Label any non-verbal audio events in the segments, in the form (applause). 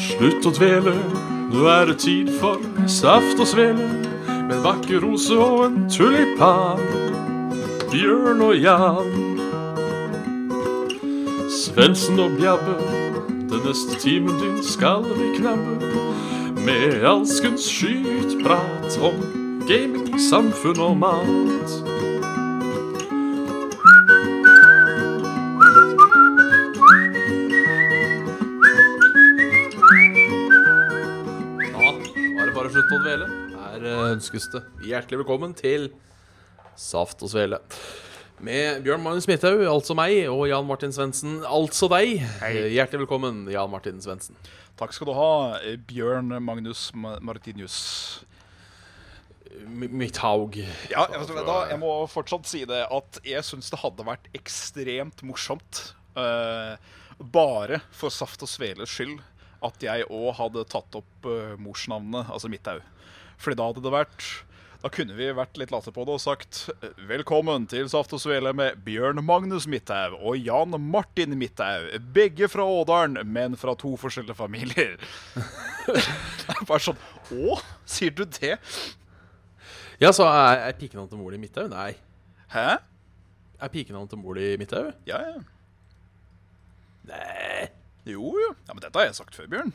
Slutt å dvele, nå er det tid for saft og svele. Med en vakker rose og en tulipan. Bjørn og Jan. Svendsen og Bjabbe, den neste timen din skal vi knabbe. Med alskens skytprat om gaming, samfunn og mat. Da var det bare å slutte å dvele. Her eh, ønskes det hjertelig velkommen til Saft og Svele. Med Bjørn Magnus Midthaug, altså meg, og Jan Martin Svendsen, altså deg. Eh, Hjertelig velkommen, Jan Martin Svendsen. Takk skal du ha, eh, Bjørn Magnus Ma- Martinius. M- Midthaug. Ja, jeg, vet da, jeg må fortsatt si det at jeg syns det hadde vært ekstremt morsomt eh, bare for Saft og Sveles skyld at jeg òg hadde tatt opp eh, morsnavnet, altså Midthaug. Fordi da hadde det vært Da kunne vi vært litt late på det og sagt eh, velkommen til Saft og Svele med Bjørn Magnus Midthaug og Jan Martin Midthaug. Begge fra Ådalen, men fra to forskjellige familier. (laughs) Det er Bare sånn Å, sier du det? Ja, så er, er pikenavnet til mor di Midthaug? Nei. Hæ? Er pikenavnet til mor di Midthaug? Ja, ja. Nei. Jo, jo. Ja, men dette har jeg sagt før, Bjørn.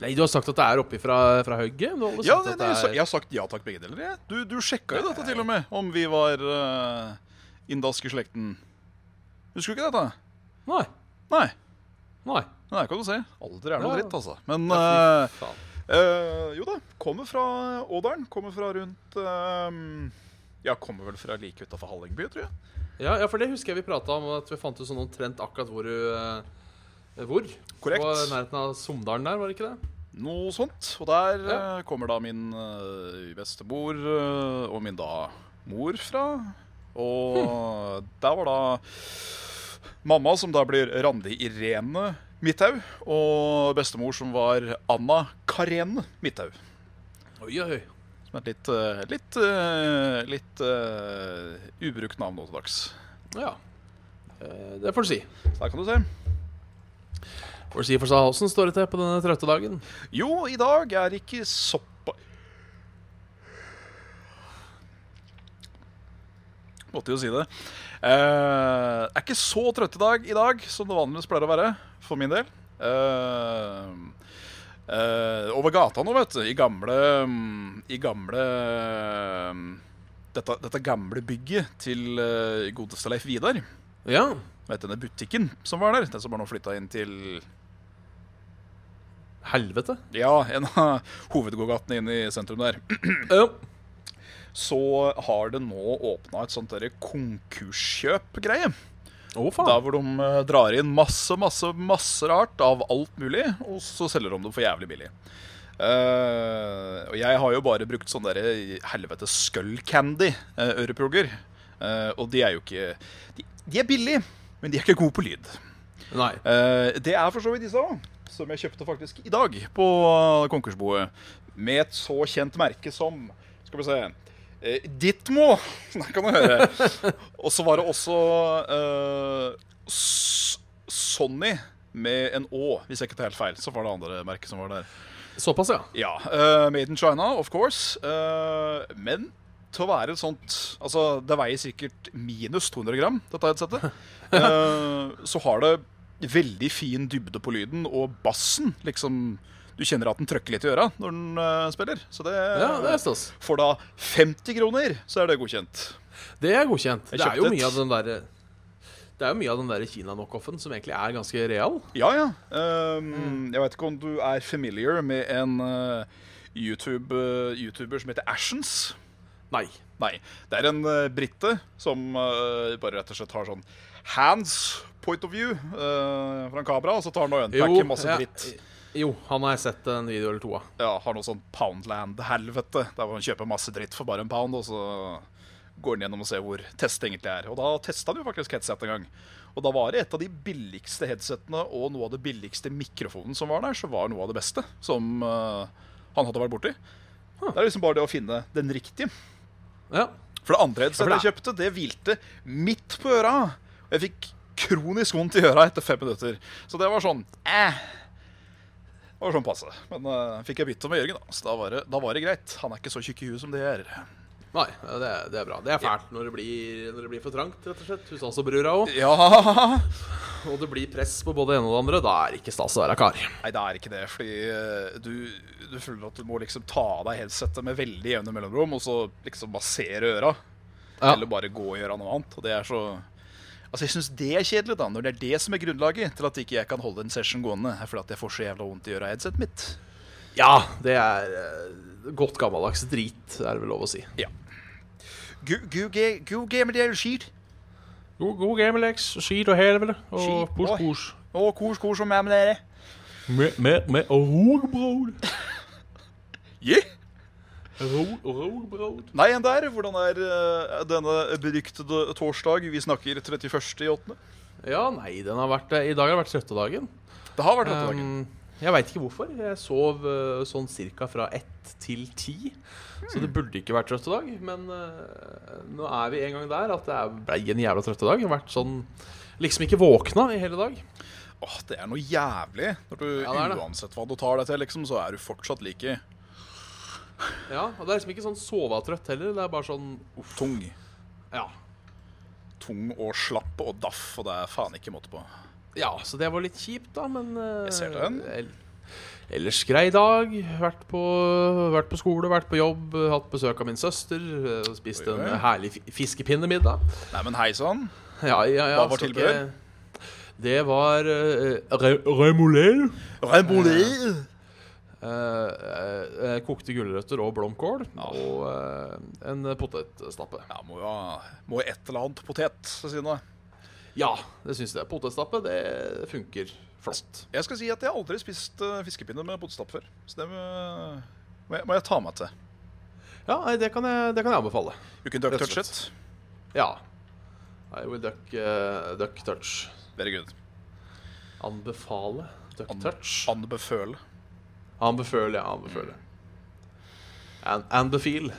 Nei, du har sagt at det er oppe fra, fra Høgget. Du har aldri Ja, sagt det, at det, jeg, det sa- er- jeg har sagt ja takk, begge deler. jeg. Du, du sjekka jo dette til og med, om vi var uh, inndaske slekten. Husker du ikke dette? Nei. Nei. Nei. Nei, kan du se. Alder er noe Ja. dritt, altså. Men Ja, eh, fy faen. eh, jo da. Kommer fra Ådalen. Kommer fra rundt eh, Ja, kommer vel fra like utafor Hallingby, tror jeg. Ja, ja, for det husker jeg vi prata om, at vi fant ut sånn omtrent akkurat hvor du eh, Hvor? Korrekt. På nærheten av Somdalen der, var det ikke det? Noe sånt. Og der Ja. eh, kommer da min eh, bestemor eh, og min da mor fra. Og der var da mamma, som da blir Randi Irene Midthaug, og bestemor, som var Anna Karen Midthaug. Oi, oi. Som er et litt, eh, litt, eh, litt eh, ubrukt navn nå til dags. Ja. Eh, Det får du si. Så der kan du se. Får du si for seg åssen står det til på denne trøtte dagen. Jo, i dag er ikke soppa Måtte jo si det. Eh, er ikke så trøtt i dag i dag som det vanligvis pleier å være, for min del. Eh, eh, over gata nå, vet du, i gamle mm, I gamle mm, dette, dette gamle bygget til eh, godeste Leif Vidar. Ja. Vet du, denne butikken som var der. Den som har nå flytta inn til Helvete. Ja, en av hovedgågatene inne i sentrum der. Ja. Så har det nå åpna et sånt derre konkurskjøp-greie. Å, faen. Der hvor de eh, drar inn masse, masse, masse rart av alt mulig, og så selger de det for jævlig billig. Eh, og jeg har jo bare brukt sånne derre helvete skull candy-ørepulger. Eh, og de er jo ikke de, de er billige, men de er ikke gode på lyd. Nei. Eh, det er for så vidt disse òg, som jeg kjøpte faktisk i dag på konkursboet. Med et så kjent merke som Skal vi se eh, Ditmo! (laughs) Der kan du høre. Og så var det også eh, S- Sonny med en Å, hvis jeg ikke tar helt feil. Så var det andre merket som var der. Såpass, ja. Ja. eh, made in China, of course. Eh, men til å være et sånt Altså, det veier sikkert minus 200 gram, (laughs) dette headsetet. Eh, så har det veldig fin dybde på lyden, og bassen liksom Du kjenner at den trøkker litt i øra når den eh, spiller. Så det, Ja, det er stas. For da 50 kroner, så er det godkjent. Det er godkjent. Jeg Det er jo kjøpte et- mye av den derre det er jo mye av den der Kina-knockoffen som egentlig er ganske real. Ja, ja. Ehm, Mm. Jeg vet ikke om du er familiar med en eh, YouTube, eh, YouTuber som heter Ashens. Nei. Nei. Det er en uh, brite som eh, bare rett og slett har sånn hands point of view eh, fra en kamera, og så tar han og øyenpakker masse ja, dritt. jo, han har jeg sett en video eller to av. Ja, har noe sånn Poundland-helvete, der hvor han kjøper masse dritt for bare en pound, og så går han gjennom og ser hvor testet egentlig er. Og da testa han jo faktisk headset en gang. Og da var det et av de billigste headsetene og noe av det billigste mikrofonen som var der, så var noe av det beste som eh, han hadde vært borti. Det er liksom bare det å finne den riktige. Ja. For det andre Ja, for headsetet det jeg kjøpte, det hvilte midt på øra. Og jeg fikk kronisk vondt i øra etter fem minutter. Så det var sånn eh. var sånn passe. Men eh, fikk jeg bytte med Jørgen, da. Så da var, det, da var det greit. Han er ikke så tjukk i huet som det er. Nei, det er, det er bra. Det er fælt når, det blir, når det blir for trangt, rett og slett. Hos oss og brura òg. Ja Og det blir press på både det ene og det andre. Da er det ikke stas å være kar. (laughs) Nei, det er ikke det. Fordi eh, du, du føler at du må liksom ta av deg headsetet med veldig jevne mellomrom, og så liksom massere øra. Ja. Eller bare gå og gjøre noe annet. Og det er så Altså, jeg syns det er kjedelig, da. Når det er det som er grunnlaget til at ikke jeg kan holde en session gående. Er fordi at jeg får så jævla vondt i øra av headsetet mitt. Ja, det er eh, godt gammeldags drit, er det vel lov å si. Ja. Gu- gu- ge- gu- gamer det er skit. God, god gammeleks, skit og helvete Skit, og pus, oi. pus. Å, kos, kos og mæ med dere. Med, med, med rogbrod. Yeah. Ro- Rogbrod. Nei, enn der. Hvordan er eh, denne beryktede torsdag? Vi snakker 31. i åttende. Ja, nei, den har vært eh, I dag har det vært sjette dagen. Det har vært åtte dager. Um, jeg veit ikke hvorfor. Jeg sov eh, sånn ca. fra ett til ti. Så det burde ikke vært trøtt i dag. Men eh, nå er vi en gang der at det er- ble en jævla trøtt i dag. Jeg har vært sånn Liksom ikke våkna i hele dag. Åh, det er noe jævlig. Når du, Ja, det er det. Uansett hva du tar deg til, liksom, så er du fortsatt like Ja, Og det er liksom ikke sånn sovetrøtt heller. Det er bare sånn tung. Ja. Tung og slapp og daff, og det er faen ikke måte på. Ja, så det var litt kjipt, da, men eh, Jeg ser den. el- Ellers grei dag. Vært på, vært på skole, vært på jobb, eh, hatt besøk av min søster. eh, Spist Oi, oi. en herlig fi- fiskepinnemiddag. Nei, men hei sånn. sann. Ja, ja, ja, Hva var skal tilbehør? ikke- Det var uh, remoulade. Ramboli! eh, eh, eh, kokte gulrøtter og blomkål. Og eh, en potetstappe. Ja, må jo ha må jo et eller annet potet ved siden av. Ja, det syns jeg. Potetstappe, det funker flott. Jeg skal si at jeg har aldri spist eh, fiskepinne med potestapp før. Så det må, må, jeg, må jeg ta meg til. Ja, nei, det kan jeg, det kan jeg anbefale. You can duck Rett og touch it. slett. Ja. I will duck, eh, duck touch. Very good. Anbefale duck An- touch. Anbeføl. Anbefale, ja. Anbefale. Mm. An anbefeel.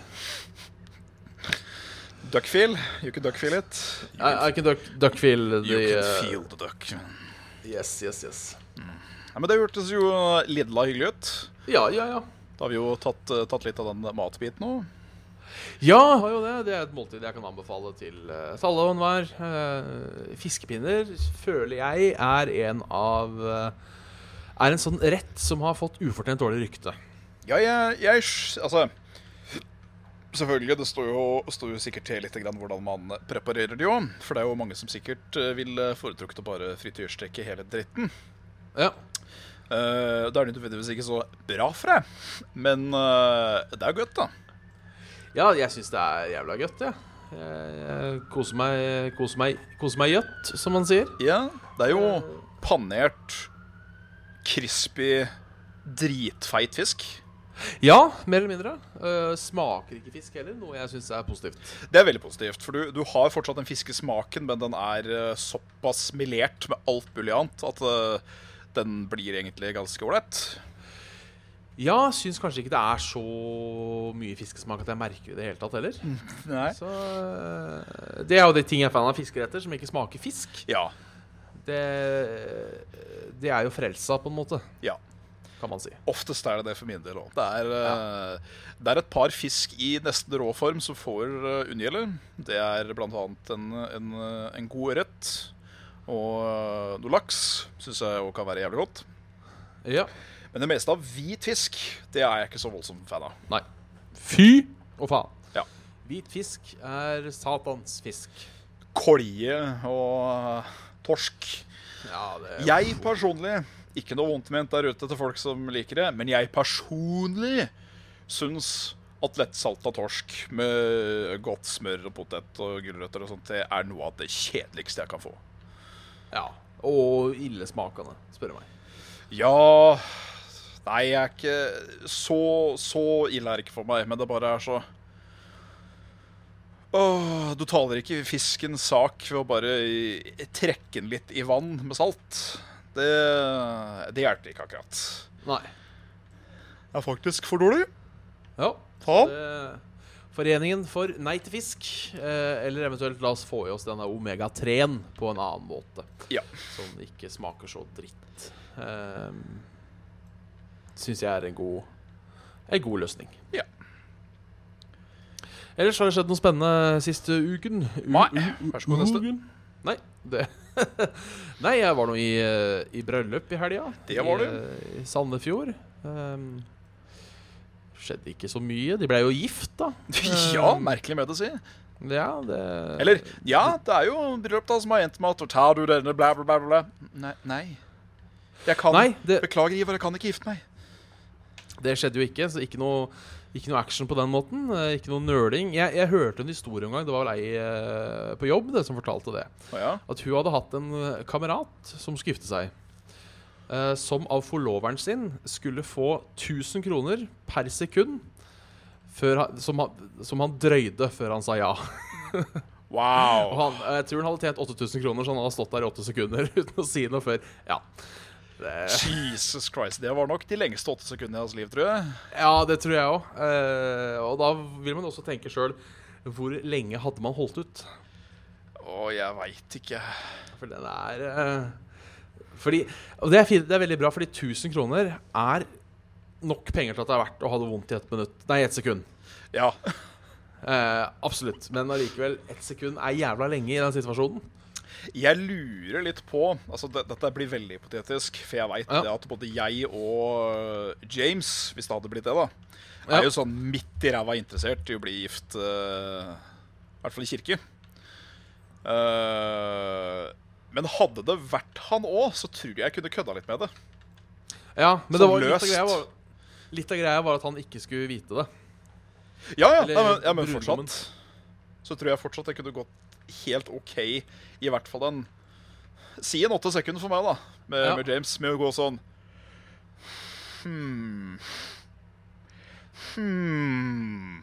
Duckfeel. You can duckfeel it. I, I can duck, duck feel You the can eh, feel the duck. Yes, yes, yes. Ja, men det hørtes jo lidla hyggelig ut. Ja, ja, ja. Da har vi jo tatt, eh, tatt litt av den matbiten nå. Ja, jeg har jo det. Det er et måltid jeg kan anbefale til eh, til alle og enhver. Eh, Fiskepinner føler jeg er en av eh, Er en sånn rett som har fått ufortjent dårlig rykte. Ja, jeg, jeg sk- Altså Selvfølgelig, det står jo, står jo sikkert til litt grann hvordan man preparerer det òg. For det er jo mange som sikkert eh, ville foretrukket å bare frityrsteke hele dritten. Ja. Eh, Da er det nødvendigvis ikke så bra for deg, men eh, det er jo godt, da. Ja, jeg syns det er jævla godt, jeg. Jeg, jeg koser meg Koser meg Koser meg gjøtt, som man sier. Ja, det er jo panert, crispy, dritfeit fisk. Ja, mer eller mindre. Eh, smaker ikke fisk heller, noe jeg syns er positivt. Det er veldig positivt, for du, du har fortsatt den fiskesmaken, men den er eh, såpass melert med alt mulig annet at eh, den blir egentlig ganske ålreit. Ja, syns kanskje ikke det er så mye fiskesmak at jeg merker det i det hele tatt heller. Nei. Så eh, Det er jo de ting jeg er fan av fiskeretter, som ikke smaker fisk. Ja. Det, det er jo frelsa, på en måte, ja. kan man si. Oftest er det det for min del òg. Det, er, eh, det er et par fisk i nesten rå form som får eh, unngjelde. Det er bl.a. En, en, eh, en god ørret og eh, noe laks. Syns jeg òg kan være jævlig godt. Ja. Men det meste av hvit fisk det er jeg ikke så voldsomt fan av. Nei. Fy. Og faen. Ja. Hvit fisk er satans fisk. Kolje og eh, torsk. Ja, det Jeg personlig Ikke noe vondt ment der ute til folk som liker det, men jeg personlig syns at lettsalta torsk med godt smør og potet og gulrøtter og sånt, det er noe av det kjedeligste jeg kan få. Ja. Og illesmakende, spør du meg. Ja Nei, jeg er ikke Så, så ille er det ikke for meg, men det bare er så Åh, Du taler ikke fiskens sak ved å bare i- trekke den litt i vann med salt. Det, det hjelper ikke akkurat. Nei. er faktisk for dårlig. Ja. Ta den. Det- Foreningen for nei til fisk, eh, eller eventuelt la oss få i oss denne omega-3-en på en annen måte, Ja. som ikke smaker så dritt. Ehm, syns jeg er en god, en god løsning. Ja. Ellers har det skjedd noe spennende siste uken. U Nei, vær så god, neste. (laughs) uken? Nei, det (laughs) Nei, jeg var nå i, eh, i bryllup i helga. Det var I, eh, I Sandefjord. Um, skjedde ikke så mye. De ble jo gift, da. Ja, merkelig med å si. Ja, det Eller ja, det er jo bryllup da som har endt med at Tar du denne bla, bla, bla, bla. Nei. nei. Jeg kan Nei, det, Beklager, Ivar, jeg kan ikke gifte meg. Det skjedde jo ikke, så ikke noe, ikke noe action på den måten. eh, Ikke noe nøling. Jeg, jeg hørte en historie en gang, det var vel ei eh, på jobb det, som fortalte det. Å ja. At hun hadde hatt en eh, kamerat som skulle gifte seg. eh, Som av forloveren sin skulle få 1000 kroner per sekund før han, som, han, som han drøyde før han sa ja. Og Wow. han, eh, jeg tror han hadde tjent 8000 kroner, så han hadde stått der i åtte sekunder (laughs) uten å si noe før. Ja, Jesus Christ. Det var nok de lengste åtte sekundene i hans liv, tror jeg. Ja, det tror jeg òg. og da vil man også tenke sjøl hvor lenge hadde man holdt ut? Å, jeg veit ikke. For den er eh, Fordi Og det er, fint, det er veldig bra, fordi 1000 kroner er nok penger til at det er verdt å ha det vondt i ett minutt Nei, ett sekund. Ja. Eh, absolutt. Men allikevel, ett sekund er jævla lenge i den situasjonen. Jeg lurer litt på altså det, Dette blir veldig hypotetisk, for jeg veit Ja. det at både jeg og øh, James, hvis det hadde blitt det, da, Ja. er jo sånn midt i ræva interessert i å bli gift. øh, I hvert fall i kirke. Eh, men hadde det vært han òg, så tror jeg jeg kunne kødda litt med det. Ja, men Så det var litt av, Sånn løst. greia var, litt av greia var at han ikke skulle vite det. Ja, ja, Eller nei, men, ja men brudgommen. fortsatt Så tror jeg fortsatt jeg kunne gått helt OK I hvert fall en Si en åtte sekunder for meg da Med, Ja. med James med å gå sånn Hmm Hmm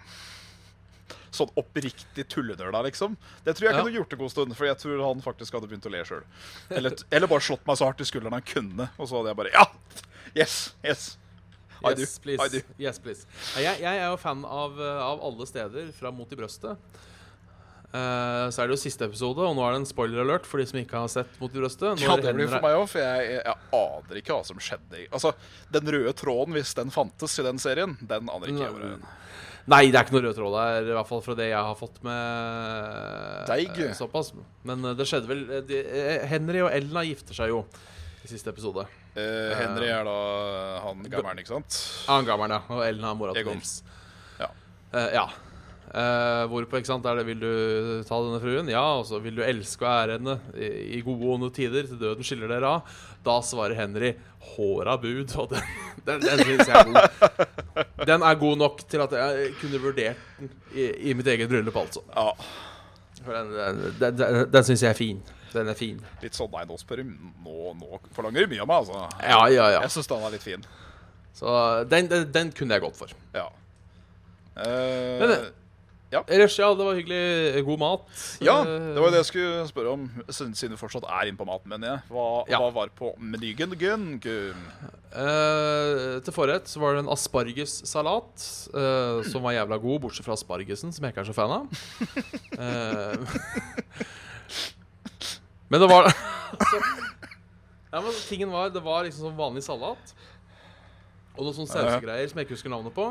Sånn oppriktig tulledør der liksom Det tror jeg Ja. kunne gjort en god stund For jeg tror han faktisk hadde begynt å le selv Eller, eller bare slått meg så hardt i skulderen han kunne Og så hadde jeg bare, ja, yes, yes I do, Yes, I do. please. Yes, please. Nei, Jeg, jeg er jo fan av, eh, av alle steder, fra mot i brøstet. Eh, så er det jo siste episode, og nå er det en spoiler alert for de som ikke har sett Mot i brøstet. Ja, Når det blir Henry- for meg òg, for jeg, jeg, jeg aner ikke hva som skjedde. i- Altså, Den røde tråden, hvis den fantes i den serien, den aner ikke jeg. hvor den- Nei, det er ikke noe rød tråd der, i hvert fall fra det jeg har fått med Deig. eh, såpass. Men eh, det skjedde vel eh, de, eh, Henry og Elna gifter seg jo i siste episode. Eh, Henry er da han gammelen, ikke sant? Ja, Han gammelen, ja. Og Elna er mora til Egon. Nils. Ja. Eh, ja. Eh, hvorpå, ikke sant, er det 'vil du ta denne fruen'? Ja, og så 'vil du elske og ære henne i, i gode og onde tider', til døden skiller dere av. Da svarer Henry 'håra bud', og den, (laughs) den, den syns jeg er god. Den er god nok til at jeg kunne vurdert den i, i mitt eget bryllup, altså. Ja, For den den, den, den syns jeg er fin. Den er fin. Litt sånn nei, nå spør du Nå, nå forlanger du mye av meg, altså. Ja, ja, ja. Jeg syns den er litt fin. Så den, den, den kunne jeg gått for. Ja. Men Eh, det- Ellers, ja, det var hyggelig. God mat. ja, Eh, det var det jeg skulle spørre om, siden siden du fortsatt er inne på maten, mener jeg. Hva, Ja. hva var på menyen? Gunn, Gunn? Eh, til forrett så var det en aspargessalat eh, som var jævla god, bortsett fra aspargesen, som jeg ikke er så fan av. Eh, (laughs) men det var (laughs) ja, men Tingen var Det var liksom som vanlig salat. Og noen sånne sausegreier som jeg ikke husker navnet på.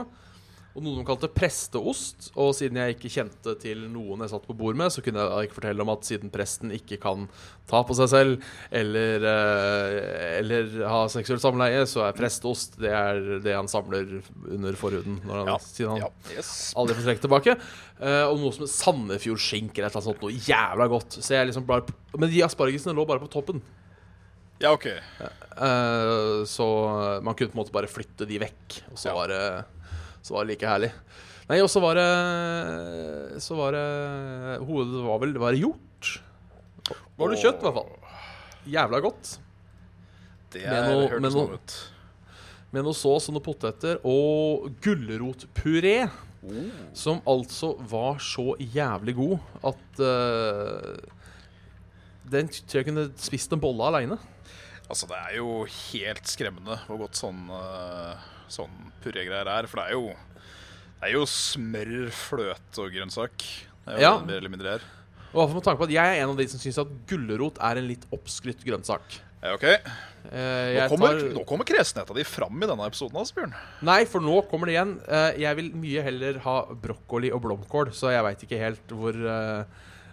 Og noe de kalte presteost. Og siden jeg ikke kjente til noen jeg satt på bord med, så kunne jeg da ikke fortelle om at siden presten ikke kan ta på seg selv eller, eh, eller ha seksuelt samleie, så er presteost det, er det han samler under forhuden. Når han, Ja. Siden han ja. Yes. aldri får trekke tilbake. Eh, og noe som Sandefjordskinke eller et eller annet sånt. Noe jævla godt. Så jeg liksom bare, men de aspargesene lå bare på toppen. ja, OK. Eh, så man kunne på en måte bare flytte de vekk, og så, Ja. var, det, så var det like herlig. Nei, og så var det Så var det Hovedet var vel Var det hjort? Var det kjøtt, i hvert fall? Jævla godt. Det Med noe- hørtes med sånn noe- ut. Med noe sås og noen poteter og gulrotpuré. Oh. Som altså var så jævlig god at eh, Den tror jeg kunne spist en bolle aleine. Altså, det er jo helt skremmende hvor godt sånn, eh, sånn purégreier er. For det er jo, det er jo smør, fløte og grønnsak. Det er jo Ja. det mer eller mindre her. Og i hvert fall med tanke på at Jeg er en av de som syns at gulrot er en litt oppskrytt grønnsak. Eh, Ok, Eh, Nå jeg kommer, tar- nå kommer kresenheta di fram i denne episoden. Altså, Bjørn Nei, for nå kommer det igjen. Eh, Jeg vil mye heller ha brokkoli og blomkål, så jeg veit ikke helt hvor, eh,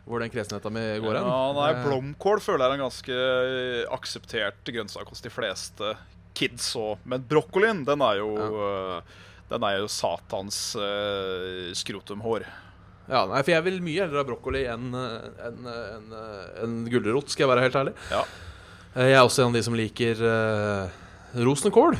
hvor den kresenheta mi går hen. Ja, nei, Eh, Blomkål føler jeg er en ganske eh, akseptert grønnsak hos de fleste kids òg. Men brokkolien, den er jo øh, Den er jo satans øh, skrotumhår. Ja, nei, for jeg vil mye heller ha brokkoli enn eh, enn, eh, enn, eh, enn gulrot, skal jeg være helt ærlig. Ja. Eh, Jeg er også en av de som liker eh, rosenkål.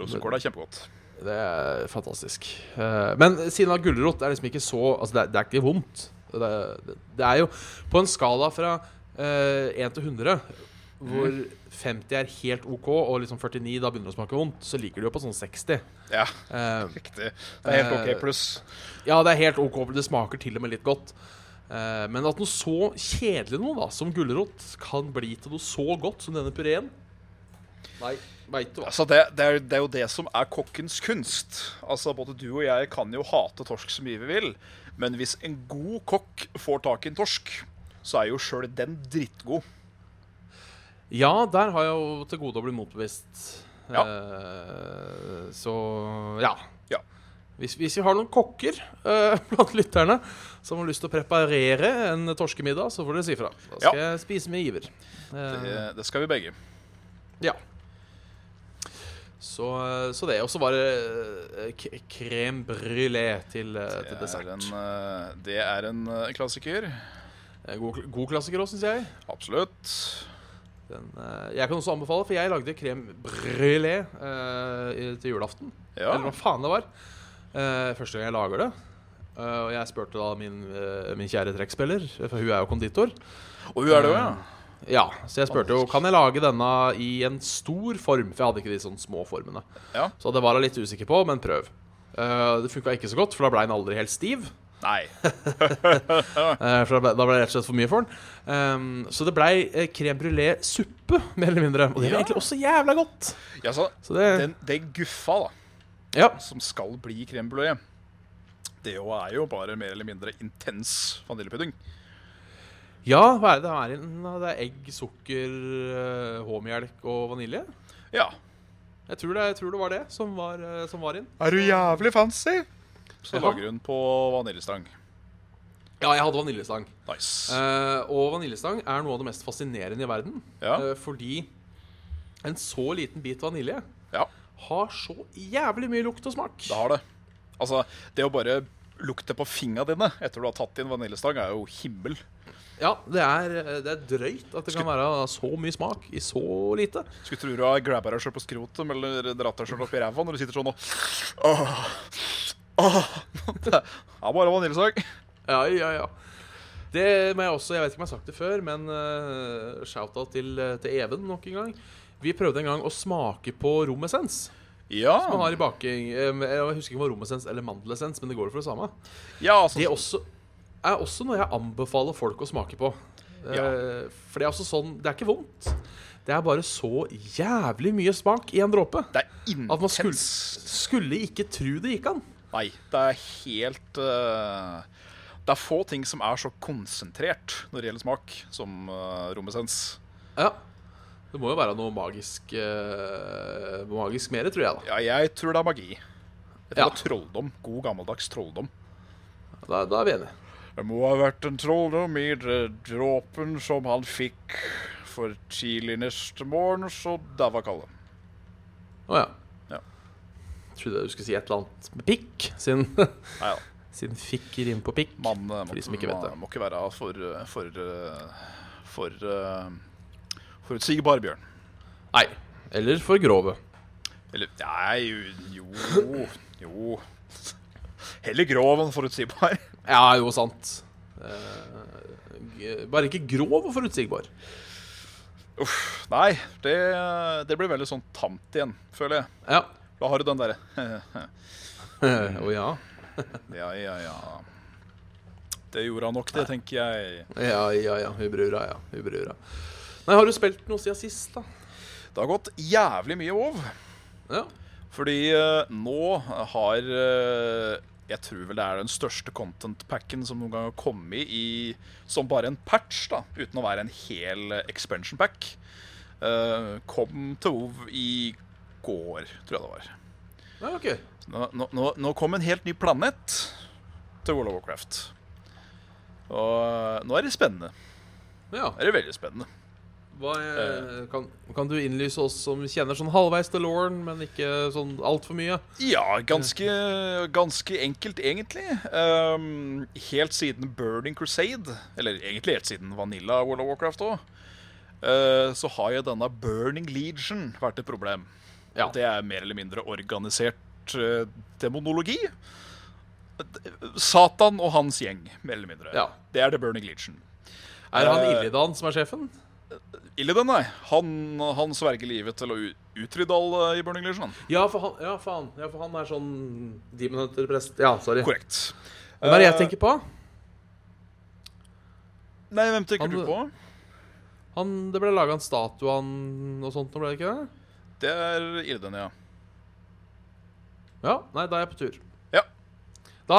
Rosenkål er kjempegodt. Det er fantastisk. Eh, Men siden at gulrot er liksom ikke så Altså, det er, det er ikke vondt. Det, det, det er jo på en skala fra eh, 1 til 100, hvor 50 er helt OK, og liksom 49 da begynner det å smake vondt, så liker du jo på sånn 60. Ja, Eh, riktig. Det er helt Eh, OK pluss. ja, det er helt OK, for det smaker til og med litt godt. Eh, men at noe så kjedelig noe da som gulrot kan bli til noe så godt som denne pureen Nei, veit du hva. Altså det, det, er, det er jo det som er kokkens kunst. Altså Både du og jeg kan jo hate torsk så mye vi vil, men hvis en god kokk får tak i en torsk, så er jo sjøl den drittgod. Ja, der har jeg jo til gode å bli motbevist. Ja. Eh, så ja. Ja. Hvis, hvis vi har noen kokker eh, (laughs) blant lytterne som har lyst til å preparere en torskemiddag, så får dere si fra. Da skal jeg spise med iver. Det, Eh, det skal vi begge. ja. Så, så det. Og så var det eh, k- crème brulé til, eh, til Det er dessert. en, eh, det er en eh, klassiker. Eh, God, god klassiker òg, syns jeg. Absolutt. Den, eh, jeg kan også anbefale, for jeg lagde crème brulé eh, i- til julaften. Ja. Eller hva faen det var. Eh, første gang jeg lager det. Eh, og jeg spurte da min, eh, min kjære trekkspiller, for hun er jo konditor. Og hun er det òg, ja. Ja, Så jeg spurte jo kan jeg lage denne i en stor form, for jeg hadde ikke de sånne små formene. Ja. Så det var jeg litt usikker på, men prøv. Eh, det funka ikke så godt, for da ble den aldri helt stiv. Nei. Eh, for da ble, da ble det rett og slett for mye for den. Ehm, så det blei uh, crème brulé-suppe, (laughs) mer eller mindre. Og det var Ja. egentlig også jævla godt. Ja, så Så det den, den guffa, da, Ja. som skal bli crème brulé, det jo er jo bare mer eller mindre intens vaniljepudding. ja, hva er det det er i den? Det er egg, sukker, eh, H-melk og vanilje? Ja. Jeg tror, det, jeg tror det var det som var, eh, som var inn. Er du jævlig fancy? Så Jaha. lager hun på vaniljestang. Ja, jeg hadde vaniljestang. Nice. Eh, og vaniljestang er noe av det mest fascinerende i verden. Ja. Eh, fordi en så liten bit vanilje Ja, har så jævlig mye lukt og smak. det har det. Altså, det å bare lukte på fingra dine etter du har tatt inn vaniljestang, er jo himmel. Ja, det er, eh, det er drøyt at det kan være så mye smak i så lite. Skulle tro du har grabba deg sjøl på skrotum eller dratt deg sjøl opp i ræva når du sitter sånn og Åh, åh. Det er bare vaniljestang. Ja, ja, ja. Det må jeg også, jeg vet ikke om jeg har sagt det før, men eh, shout-out til, eh, til Even nok en gang. Vi prøvde en gang å smake på romessens. Ja. Man har i baking eh, Jeg husker ikke om det var romessens eller mandelessens, men det går jo for det samme. ja altså, Det er også, er også noe jeg anbefaler folk å smake på. Eh, Ja. For det er også sånn Det er ikke vondt. Det er bare så jævlig mye smak i en dråpe. Det er At man skulle, intens. skulle ikke tro det gikk an. Nei, det er helt eh, Det er få ting som er så konsentrert når det gjelder smak, som uh, romessens. Ja. Det må jo være noe magisk eh, Magisk mer, tror jeg. da Ja, jeg tror det er magi. Jeg tror Ja. det er trolldom. God gammeldags trolldom. Da, da er vi enige. Det må ha vært en trolldom i det dråpen som han fikk for tidlig neste morgen, så der var kallet. Å ja. Ja. Trodde du skulle si et eller annet med pikk, siden, (laughs) Nei da. siden fikk rim på pikk. Man eh, For må, de som ikke vet man det. må ikke være for, eh, for, eh, for eh, forutsigbar, Bjørn. Nei. Eller for grove. Eller Nei, jo Jo. jo. Heller grov enn forutsigbar. Ja, jo, sant. Eh, g- bare ikke grov og forutsigbar. Uff. Nei, det, det blir veldig sånn tamt igjen, føler jeg. Ja. (laughs) Da har du den derre Å ja. Ja, ja, ja. Det gjorde han nok, det, tenker jeg. Ja, ja, ja. Hun brura, ja. Hun brura. Nei, har du spilt noe siden sist, da? Det har gått jævlig mye vov. Ja. Fordi eh, nå har eh, Jeg tror vel det er den største content-packen som noen gang har kommet i som bare en patch, da, uten å være en hel eh, expansion pack. Eh, kom til Ov i går, tror jeg det var. Ja, ok. Nå, nå- nå, nå kom en helt ny planet til World of Warcraft. Og eh, nå er det spennende. Ja. Nå er det veldig spennende. Hva, eh, kan, kan du innlyse oss som kjenner sånn halvveis til Lauren, men ikke sånn altfor mye? Ja, ganske, ganske enkelt, egentlig. Ehm, helt siden Burning Crusade, eller egentlig helt siden Vanilla World of Warcraft òg, så har jo denne Burning Legion vært et problem. Ja. Det er mer eller mindre organisert eh, demonologi. Satan og hans gjeng, mer eller mindre. Ja. Det er The Burning Legion. Er han Eh, Illidan som er sjefen? Illidan, nei. Han, han sverger livet til å u- utrydde alle i Burning Legion. han. Ja, for han, ja, faen. Ja, for han er sånn Demon Hunter-prest. Ja, sorry. Korrekt. Hvem er det jeg Eh, tenker på? Nei, hvem tenker Han- du på? Han, det ble laga en statue av han og sånt, nå ble det ikke det? Det er Ilden, ja. Ja, nei, da er jeg på tur. Ja. Da,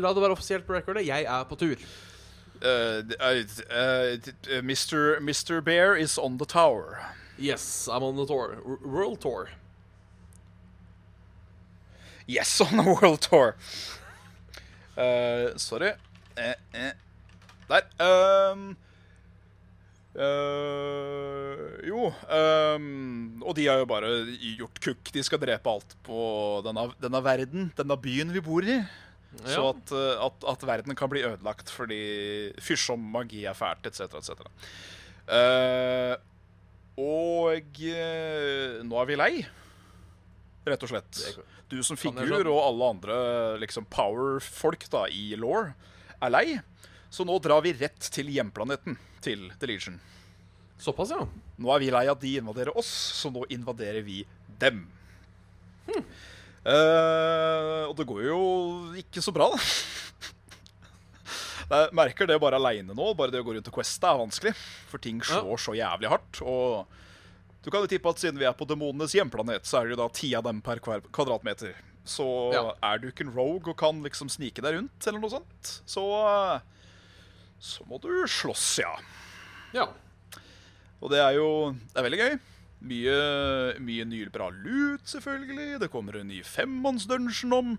La det være offisielt på recordet. Jeg er på tur. Eh, eh, eh, eh, Mr. Mr. Bear is on the tower. Yes, I'm on the tour. R- World tour. Yes, (laughs) on a world tour. Eh, sorry. Eh, eh. Der. ehm. Eh, jo ehm, Og de har jo bare gjort kukk. De skal drepe alt på denne, denne verden, denne byen vi bor i. Så Ja. at, eh, at, at verden kan bli ødelagt fordi fyrsom magi er fælt, etc., etc. Eh, og eh, nå er vi lei, rett og slett. Det er sånn- klart. Du som Kan jeg figur skjønne. og alle andre liksom, power-folk da, i law er lei, så nå drar vi rett til hjemplaneten til The Legion. Såpass, ja. Nå er vi lei av at de invaderer oss, så nå invaderer vi dem. Hm. Eh, og det går jo ikke så bra, da. (laughs) Jeg merker det bare aleine nå. Bare det å gå rundt og queste er vanskelig. For ting slår så jævlig hardt. Og du kan jo tippe at siden vi er på demonenes hjemplanet, så er det jo da ti av dem per kvar- kvadratmeter. Så Ja. er du ikke en rogue og kan liksom snike deg rundt, eller noe sånt, så, eh, så må du slåss, ja. Ja. Og det er jo det er veldig gøy. Mye, mye ny bra lut, selvfølgelig. Det kommer en ny femmannsdungeon om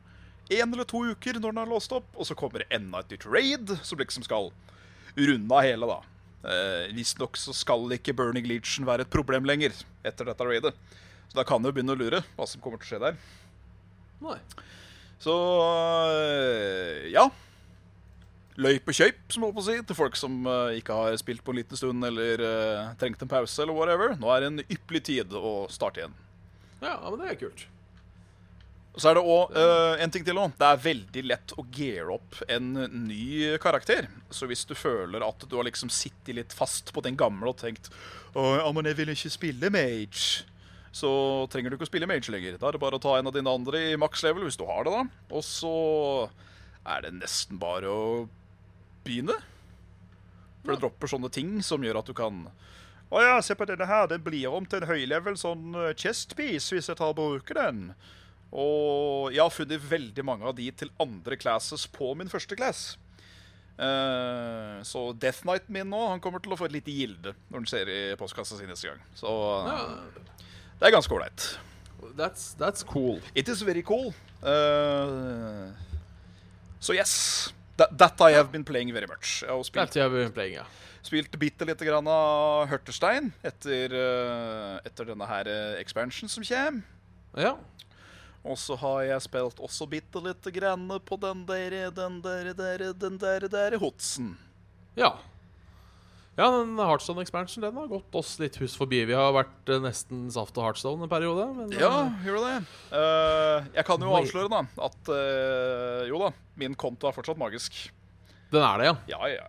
én eller to uker når den er låst opp. Og så kommer det enda et nytt raid som liksom skal runde av hele, da. Eh, Visstnok så skal ikke Burning Legion være et problem lenger etter dette raidet. Så da kan du begynne å lure hva som kommer til å skje der. Nei. Så øh, ja. Løyp og kjøyp, som jeg holdt på å si, til folk som øh, ikke har spilt på en liten stund eller øh, trengt en pause eller whatever. Nå er det en ypperlig tid å starte igjen. Ja, ja, men det er kult. Og Så er det òg en ting til òg. Det er veldig lett å geare opp en ny karakter. Så hvis du føler at du har liksom sittet litt fast på den gamle og tenkt Å, ja, men jeg vil ikke spille mage. Så trenger du ikke å spille mage lenger. Da er det bare å ta en av dine andre i max level, hvis du har det, da. Og så er det nesten bare å begynne. For det dropper sånne ting som gjør at du kan Å ja, se på denne her. Den blir om til en høylevel sånn eh, chest piece hvis jeg tar og bruker den. Og jeg har funnet veldig mange av de til andre classes på min første class. Eh, så Death Knight min nå, han kommer til å få et lite gilde når han ser i postkassa si neste gang. Så eh, Ja, det er ganske ålreit. that's, that's cool. It is very cool. Eh, så yes. That, that I have been playing very much. Jeg har That's spilt, how we're playing, ja. spilt bitte lite grann av Hørtestein etter, eh, etter denne her eh, expansion som kommer. Ja. Og så har jeg spilt også bitte lite grann på den der, den der, der, den der, der hotsen. Ja. Ja, den Heartstone Expansion den har gått oss litt hus forbi. Vi har vært eh, nesten saft og Heartstone en periode. Men, eh, Ja, gjør du det? Eh, jeg kan jo Oi. avsløre da, at eh, jo da, min konto er fortsatt magisk. Den er det, ja. Ja, ja.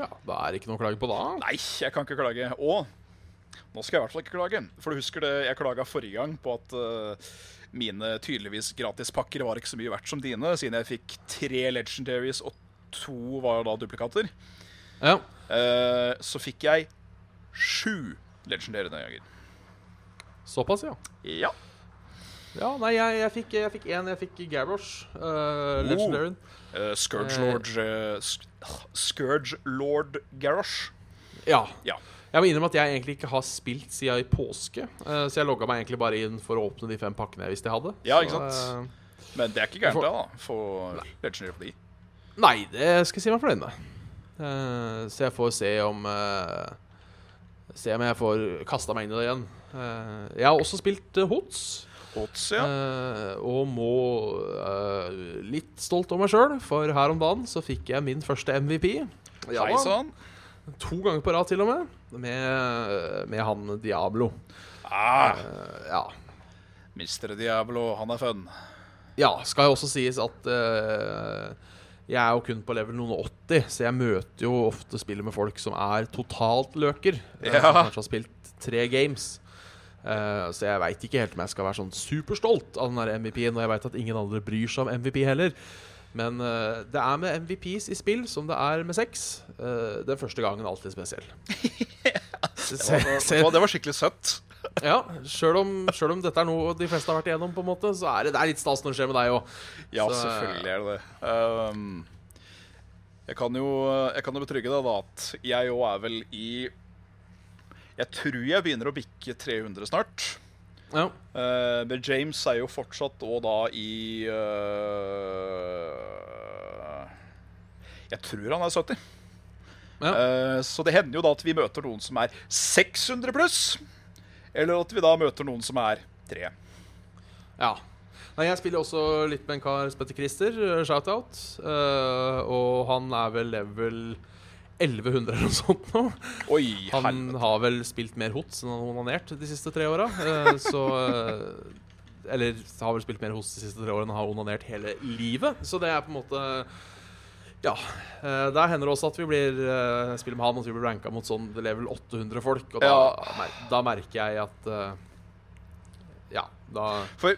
ja. Det er ikke noe å klage på da. Nei, jeg kan ikke klage. Og nå skal jeg i hvert fall ikke klage. For du husker det, jeg klaga forrige gang på at eh, mine tydeligvis gratispakker var ikke så mye verdt som dine, siden jeg fikk tre legendaries og to var da duplikater. Ja. Eh, så fikk jeg sju legendære denne gangen. Såpass, ja. Ja. Ja, nei, jeg, jeg fikk én. Jeg fikk, en, jeg fikk Gavroche. Uh, Legendaren. Eh, Scourge Lord eh, Sk- Scourge Lord ah, Garrosh. Ja. Ja. Jeg må innrømme at jeg egentlig ikke har spilt siden i påske. eh, Så jeg logga meg egentlig bare inn for å åpne de fem pakkene jeg visste jeg hadde. Ja, Så, ikke sant? eh, Men det er ikke gærent, det, da. For Legendary of the Nei, det skal jeg si meg fornøyd med. Eh, så jeg får se om eh, Se om jeg får kasta meg inn i det igjen. Eh, jeg har også spilt eh, HOTS. Odds, ja. eh, og må eh, litt stolt over meg sjøl, for her om dagen så fikk jeg min første MVP. Ja Hei da, sann. To ganger på rad, til og med. Med, med han Diablo. Ah, Eh, ja. Mr. Diablo, han er (laughs) fun. Ja, skal jo også sies at eh, jeg er jo kun på level noen og 80, så jeg møter jo ofte spillet med folk som er totalt løker. eh, Ja. Som kanskje har spilt tre games. Eh, så jeg veit ikke helt om jeg skal være sånn superstolt av den der MVP-en, og jeg veit at ingen andre bryr seg om MVP heller. Men eh, det er med MVPs i spill som det er med sex. Eh, den første gangen er alltid spesiell. Se- se- Å, det var skikkelig søtt. ja, Sjøl om, selv om dette er noe de fleste har vært igjennom, på en måte, så er det, det er litt stas når det skjer med deg òg. Ja, Så- eh, selvfølgelig er det det. Ehm, jeg, kan jo, jeg kan jo betrygge deg da at jeg òg er vel i Jeg tror jeg begynner å bikke 300 snart. Ja. Eh, men James er jo fortsatt òg da i eh, Jeg tror han er 70. Ja. Eh, så det hender jo da at vi møter noen som er 600 pluss. Eller at vi da møter noen som er 3. Ja. Nei, jeg spiller også litt med en kar som heter Christer, eh, shout-out. Eh, og han er vel level 1100 eller noe sånt nå. Oi, Han helvete. har vel spilt mer hots enn han har onanert de siste tre åra. eh, så eh, Eller har vel spilt mer hots de siste tre årene enn han har onanert hele livet. Så det er på en måte Ja. eh, Der hender det også at vi blir eh, spiller med han, og at vi blir ranka mot sånn level 800 folk. Og da, Ja. mer- da merker jeg at eh, Ja, da For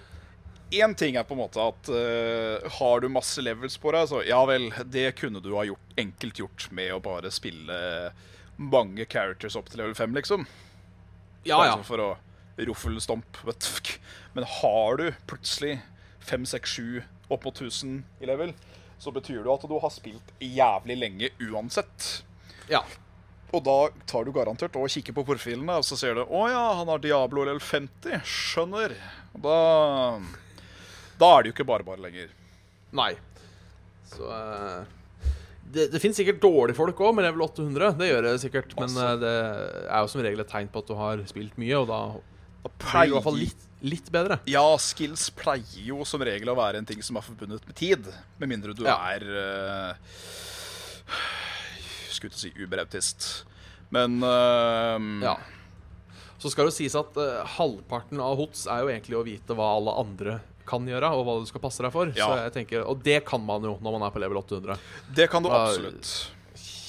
én ting er på en måte at eh, har du masse levels på deg, så ja vel, det kunne du ha gjort, enkelt gjort med å bare spille mange characters opp til level 5, liksom. Ja, Bare ja. sånn For å ruffelstomp. Vet du. fk. Men har du plutselig 5, 6, 7, opp mot 1000 i level, så betyr det jo at du har spilt jævlig lenge uansett. ja. Og da tar du garantert og kikker på profilene, og så ser du 'Å ja, han har Diablo LL 50'. Skjønner. Og Da Da er det jo ikke bare bare lenger. Nei. Så eh, Det, det finnes sikkert dårlige folk òg, med level 800. Det gjør det sikkert. Men Altså. eh, det er jo som regel et tegn på at du har spilt mye, og da Da blir du i hvert fall litt, litt bedre. Ja, skills pleier jo som regel å være en ting som er forbundet med tid. Med mindre du Ja. er eh, Skulle til å si uberautist. Men eh, Ja. Så skal det sies at eh, halvparten av HOTS er jo egentlig å vite hva alle andre kan gjøre, og hva du skal passe deg for. Ja. Så jeg tenker, Og det kan man jo når man er på level 800. det kan du Da- absolutt.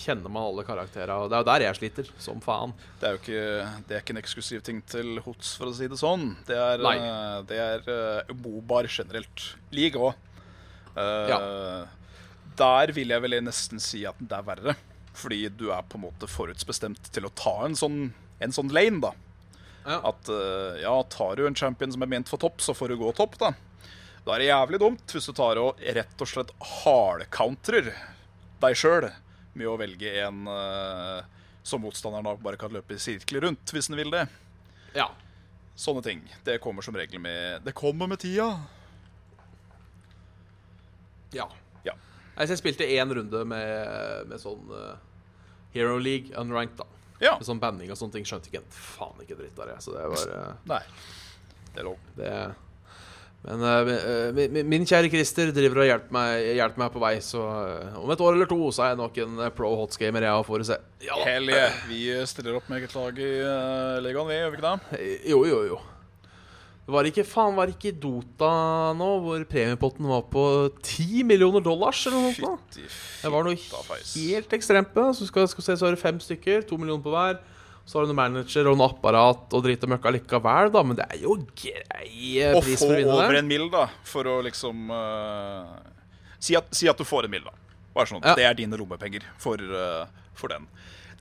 Kjenner man alle karakterer. Og det er jo der jeg sliter, som faen. Det er jo ikke, det er ikke en eksklusiv ting til HOTS, for å si det sånn. Det er, Nei. eh, det er eh, bobar generelt. League òg. Eh, Der vil jeg vel nesten si at det er verre. Fordi du er på en måte forutsbestemt til å ta en sånn, en sånn lane, da. Ja. At eh, ja, tar du en champion som er ment for topp, så får du gå topp, da. Da er det jævlig dumt hvis du tar og rett og slett hardcountrer deg sjøl med å velge en eh, som motstanderen da bare kan løpe i sirkler rundt, hvis den vil det. Ja. Sånne ting. Det kommer som regel med Det kommer med tida. ja. Ja. Nei, så jeg spilte én runde med, med sånn eh, Hero League unranked, da. Ja. Med sånn banning og sånne ting. Skjønte ikke en faen ikke dritt av det. Så det var eh, Nei. Det er lov. det Men eh, mi- mi- min kjære Christer driver og hjelper meg, hjelper meg på vei, så eh, om et år eller to så er jeg nok en eh, pro hotsgamer, jeg òg, får vi se. Ja da. Hell yeah. Vi stiller opp med eget lag i uh, ligaen, vi, gjør vi ikke det? Jo, jo, jo. Det var ikke faen, var det ikke i Dota nå, hvor premiepotten var på 10 millioner dollars eller noe sånt? nå? Fytti Det var noe fitta feis. helt ekstremt på det. Så skal, skal vi se, så er det fem stykker, to millioner på hver. Så har du noen manager og noe apparat og drit og møkka likevel, da. Men det er jo grei Å pris få for å vinne over det. en mil, da, for å liksom eh, si, at, si at du får en mil, da. Bare sånn, Ja. Det er dine lommepenger for, eh, for den.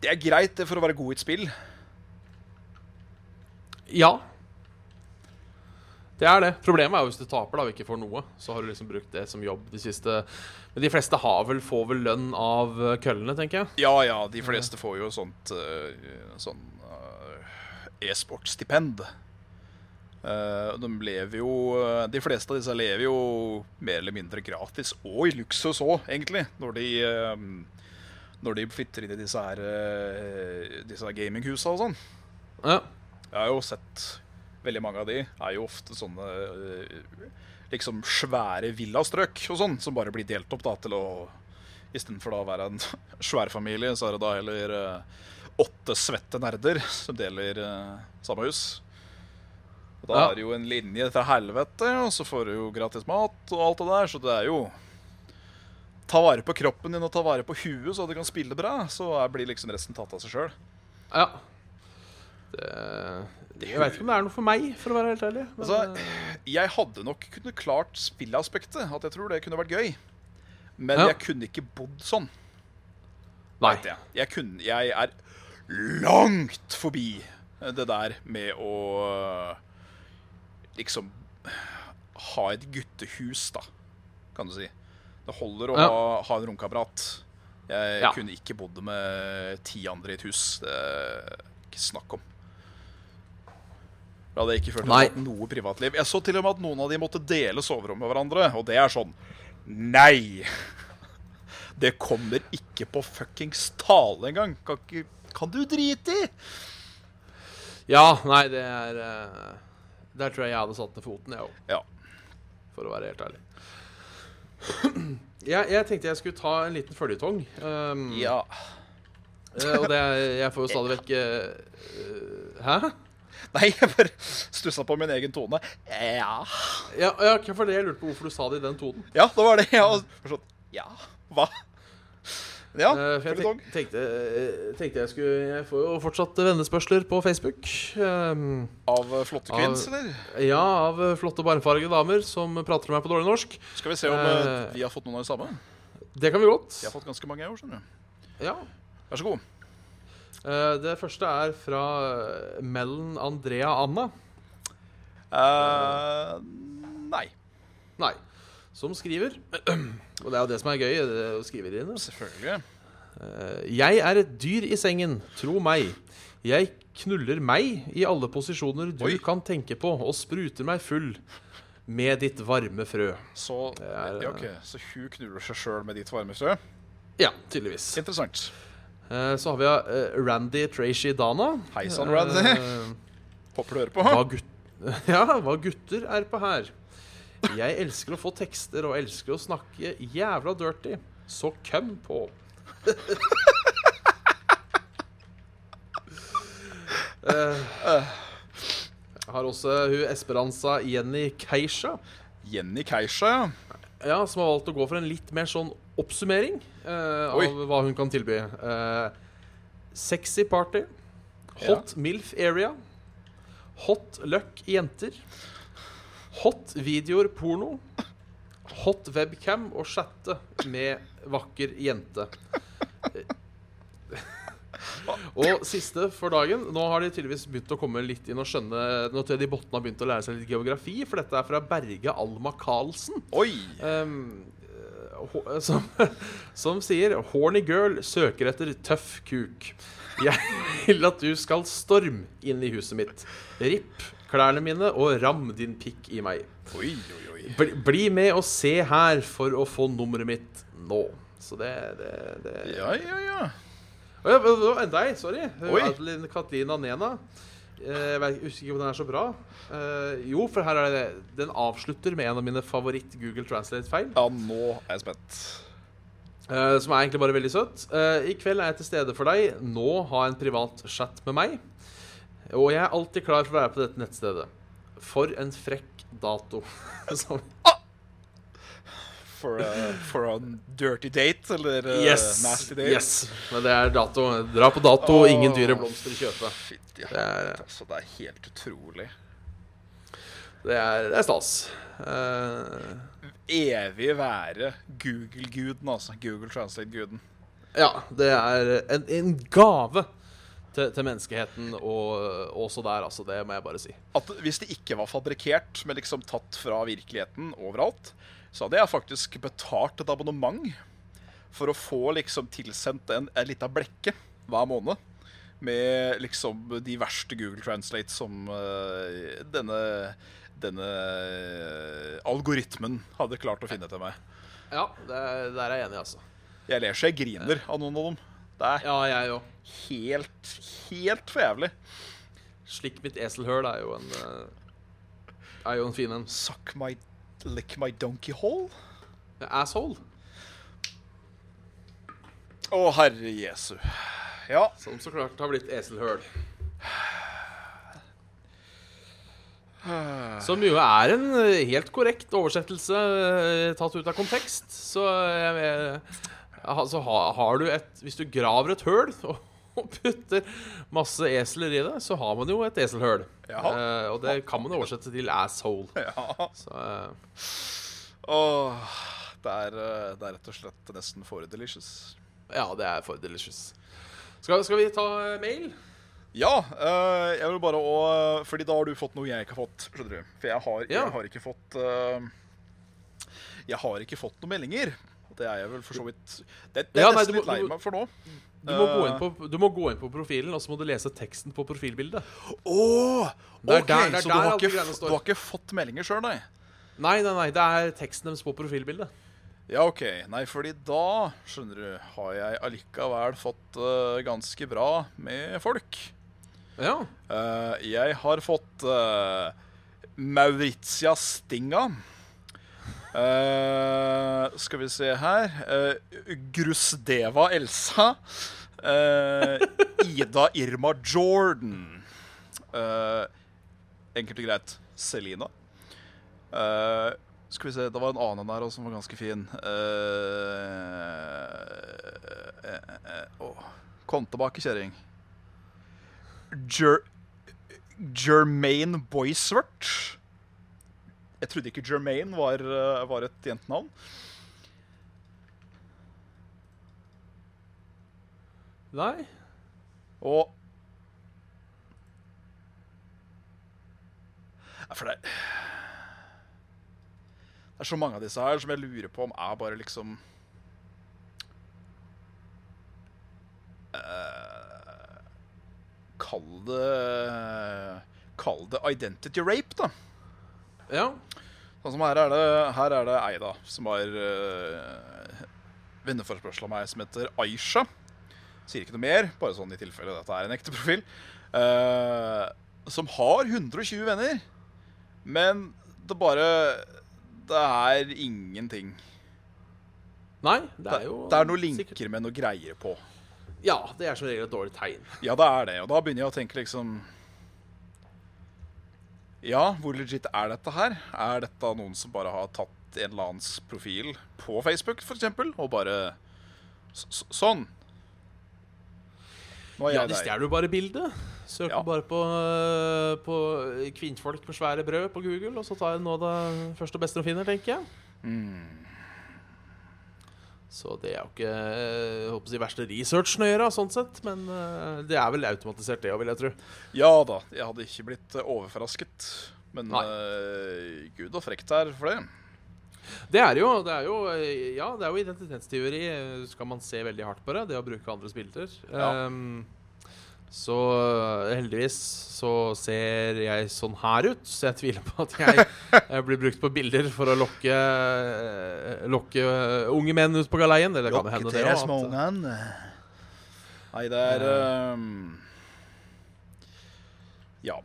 Det er greit det for å være god i et spill. Ja. Det er det. Problemet er jo hvis du taper da, og ikke får noe. Så har du liksom brukt det som jobb de siste Men de fleste har vel, får vel lønn av eh, køllene, tenker jeg. Ja ja, de fleste får jo sånt eh, sånn eh, e-sportstipend. Eh, de lever jo eh, De fleste av disse lever jo mer eller mindre gratis, og i luksus òg, egentlig, når de eh, når de flytter inn i disse her eh, Disse her gaminghusa og sånn. Ja. Jeg har jo sett veldig mange av de er jo ofte sånne øh, liksom svære villastrøk og sånn, som bare blir delt opp da til å Istedenfor da å være en (laughs) svær familie, så er det da heller øh, åtte svette nerder som deler øh, samme hus. Og da Ja. er det jo en linje til helvete, og så får du jo gratis mat og alt det der, så det er jo Ta vare på kroppen din og ta vare på huet så du kan spille bra, så er- blir liksom resten tatt av seg sjøl. ja. Det, jeg veit ikke om det er noe for meg, for å være helt ærlig. Men, Altså, eh, jeg hadde nok kunne klart spillaspektet. At jeg tror det kunne vært gøy. Men Ja. jeg kunne ikke bodd sånn. nei. vet Jeg. Jeg, kunne, jeg er langt forbi det der med å liksom ha et guttehus, da, kan du si. Det holder å Ja. ha, ha en romkamerat. Jeg Ja. kunne ikke bodd med ti andre i et hus. Det er ikke snakk om. Da hadde jeg ikke følt at Nei. jeg hadde noe privatliv. Jeg så til og med at noen av de måtte dele soverom med hverandre, og det er sånn Nei! (laughs) Det kommer ikke på fuckings tale engang. Kan, ikke- kan du drite i? Ja, nei, det er eh, Der tror jeg jeg hadde satt ned foten, jeg òg. Ja. for å være helt ærlig. Jeg, jeg tenkte jeg skulle ta en liten føljetong. ehm, eh, Og det, er- jeg får jo stadig vekk eh, eh, Hæ? (laughs) Nei, jeg bare stussa på min egen tone. Ja. Ja, ja, ikke for det jeg lurte på hvorfor du sa det i den tonen. Ja, det var det. Ja. og- Sånn, ja. Hva? Ja, Eh, for jeg føljetong. tenk, tenkte, eh, tenkte jeg skulle Jeg får jo fortsatt vennespørsler på Facebook. ehm, Av eh, flotte Av- kvinns, eller? ja, av eh, flotte barmfargede damer som prater med meg på dårlig norsk. Skal vi se om eh, Eh, vi har fått noen av de samme? Det kan vi godt. Jeg har fått ganske mange, jeg òg, skjønner du. Ja. Vær så god. Eh, Det første er fra eh, Mellen Andrea Anna. Eh, nei. Nei. Som skriver (clears throat) Og det er jo det som er gøy, det å skrive det inn. altså. Selvfølgelig. Eh, Jeg er et dyr i sengen, tro meg. Jeg knuller meg i alle posisjoner du Oi. kan tenke på, og spruter meg full med ditt varme frø. Så, er, eh, ja, ok, så hun knuller seg sjøl med ditt varme frø? Ja, tydeligvis. Interessant. Eh, Så har vi eh, Randy Tracy Dana. Hei sann, Sånn, Randy. (laughs) Eh, Håper du hører på. Hva gut (laughs) ja, hva gutter er på her. Jeg elsker å få tekster og elsker å snakke jævla dirty. Så køm på. Eh, jeg har også hun Esperanza Jenny Keisha, Jenny Keisha, ja. ja, som har valgt å gå for en litt mer sånn oppsummering eh, Oi. av hva hun kan tilby. Eh, sexy party, hot milf area, hot luck jenter, hot videoer porno, hot webcam og chatte med vakker jente. Og siste for dagen. Nå har de tydeligvis begynt å komme litt inn og skjønne Nå tror jeg de bottene har begynt å lære seg litt geografi, for dette er fra Berge Alma Karlsen. Oi! Ehm, eh, hå- som, (laughs) som sier 'Horny girl søker etter tøff kuk'. Jeg (laughs) vil at du skal storm inn i huset mitt. Ripp klærne mine og ram din pikk i meg. Oi, oi, oi. Bli, bli med og se her for å få nummeret mitt nå. Så det, det, det. Ja, ja, ja. Å ja, det var enda ei. Sorry. Eh, Oi. Adeline Katlina Nena. Eh, Jeg vet- jeg husker ikke om den er så bra. Eh, jo, for her er det Den avslutter med en av mine favoritt-Google Translate-feil. Ja, nå er jeg spent. Eh, som er egentlig bare veldig søt. Eh, I kveld er jeg til stede for deg. Nå ha en privat chat med meg. Og jeg er alltid klar for å være på dette nettstedet. For en frekk dato. (laughs) Som, For a, for a dirty date, eller uh, nasty date? yes. Men det er dato. Dra på dato, Åh. ingen dyre blomster kjøpe. Fytti Det er, helvete, altså. Det er helt utrolig. det er, det er stas. Eh, Evig være Google-guden, altså. Google Translate-guden. ja, det er en, en gave til, til menneskeheten og også der, altså. Det må jeg bare si. At hvis det ikke var fabrikkert, men liksom tatt fra virkeligheten overalt, så hadde jeg faktisk betalt et abonnement for å få liksom tilsendt en, en lita blekke hver måned. Med liksom de verste Google Translate som eh, denne, denne algoritmen hadde klart å finne til meg. Ja, det, der er jeg enig, altså. Jeg ler så jeg griner av noen av dem. Det er Ja, jeg òg. helt, helt for jævlig. Slikk mitt eselhøl er jo en eh, Er jo en fin en. Suck my Lick my donkey hole? Asshole, Å, herre jesu. Ja. som så klart har blitt eselhøl. Som jo er en eh, helt korrekt oversettelse eh, tatt ut av kontekst. Så, eh, eh, så ha, har du et Hvis du graver et høl (laughs) og, og putter masse esler i det, så har man jo et eselhøl. Jaha. Eh, og det kan man oversette til asshole. (laughs) ja. Så, eh, Åh, det er, eh, det er rett og slett nesten for delicious. ja, det er for delicious. Skal, skal vi ta eh, mail? Ja, eh, jeg vil bare å Fordi da har du fått noe jeg ikke har fått. Skjønner du? For jeg har, Ja. jeg har ikke fått eh, Jeg har ikke fått noen meldinger. Det er jeg vel for så vidt Det, det er Ja, jeg nei, nesten du må- litt lei du må- meg for nå. Du må, gå Eh. inn på, du må gå inn på profilen, og så må du lese teksten på profilbildet. Åh, Det er ok, der- det er så der du har, alt ikke, greiene f- står. du har ikke fått meldinger sjøl, nei? Nei, nei, nei, det er teksten deres på profilbildet. Ja, OK. Nei, fordi da, skjønner du, har jeg allikevel fått eh, ganske bra med folk. Ja. Eh, jeg har fått eh, Mauritia Stinga. Eh, skal vi se her eh, Grusdeva Elsa. Eh, Ida Irma Jordan. Eh, enkelt og greit Selina. Eh, skal vi se, Det var en annen der også som var ganske fin. Eh, eh, eh, åh. Kom tilbake, kjerring. Jer Jermaine Boyswert. Jeg trodde ikke Jermaine var, eh, var et jentenavn. Nei. Og Nei, for det er Det er så mange av disse her som jeg lurer på om er bare liksom Eh, Kall det Kall det identity rape, da. Ja. Sånn som her er det, her er det ei da, som har uh, venneforespørsel av meg, som heter Aisha. Sier ikke noe mer, bare sånn i tilfelle dette er en ekte profil. Eh, som har 120 venner, men det bare Det er ingenting. Nei, det Det, er jo det er noen sikkert- linker med noen greier på. Ja, det er som regel et dårlig tegn. Ja, det er det. Og da begynner jeg å tenke liksom Ja, hvor legit er dette her? Er dette noen som bare har tatt en eller annens profil på Facebook, f.eks., og bare s- s- Sånn. Nå er Ja, jeg De der. stjeler jo bare bildet. Søker Ja. bare på, øh, på kvinnfolk med svære brød på Google, og så tar jeg nå det første og beste de finner, tenker jeg. Mm. Så det er jo ikke øh, jeg håper å si, verste researchen å gjøre, sånn sett. Men øh, det er vel automatisert, det òg, vil jeg tro. Ja da, jeg hadde ikke blitt eh, overrasket. Men Nei. eh, gud og frekt det er for det. Det er jo, det er jo, eh, ja, det er jo identitetstyveri. eh, Skal man se veldig hardt på det, det å bruke andres bilder. Ja. Ehm, så eh, heldigvis så ser jeg sånn her ut, så jeg tviler på at jeg eh, blir brukt på bilder for å lokke, eh, lokke eh, unge menn ut på galeien. Eller det kan jo hende det òg. Nei, det er eh, Ja.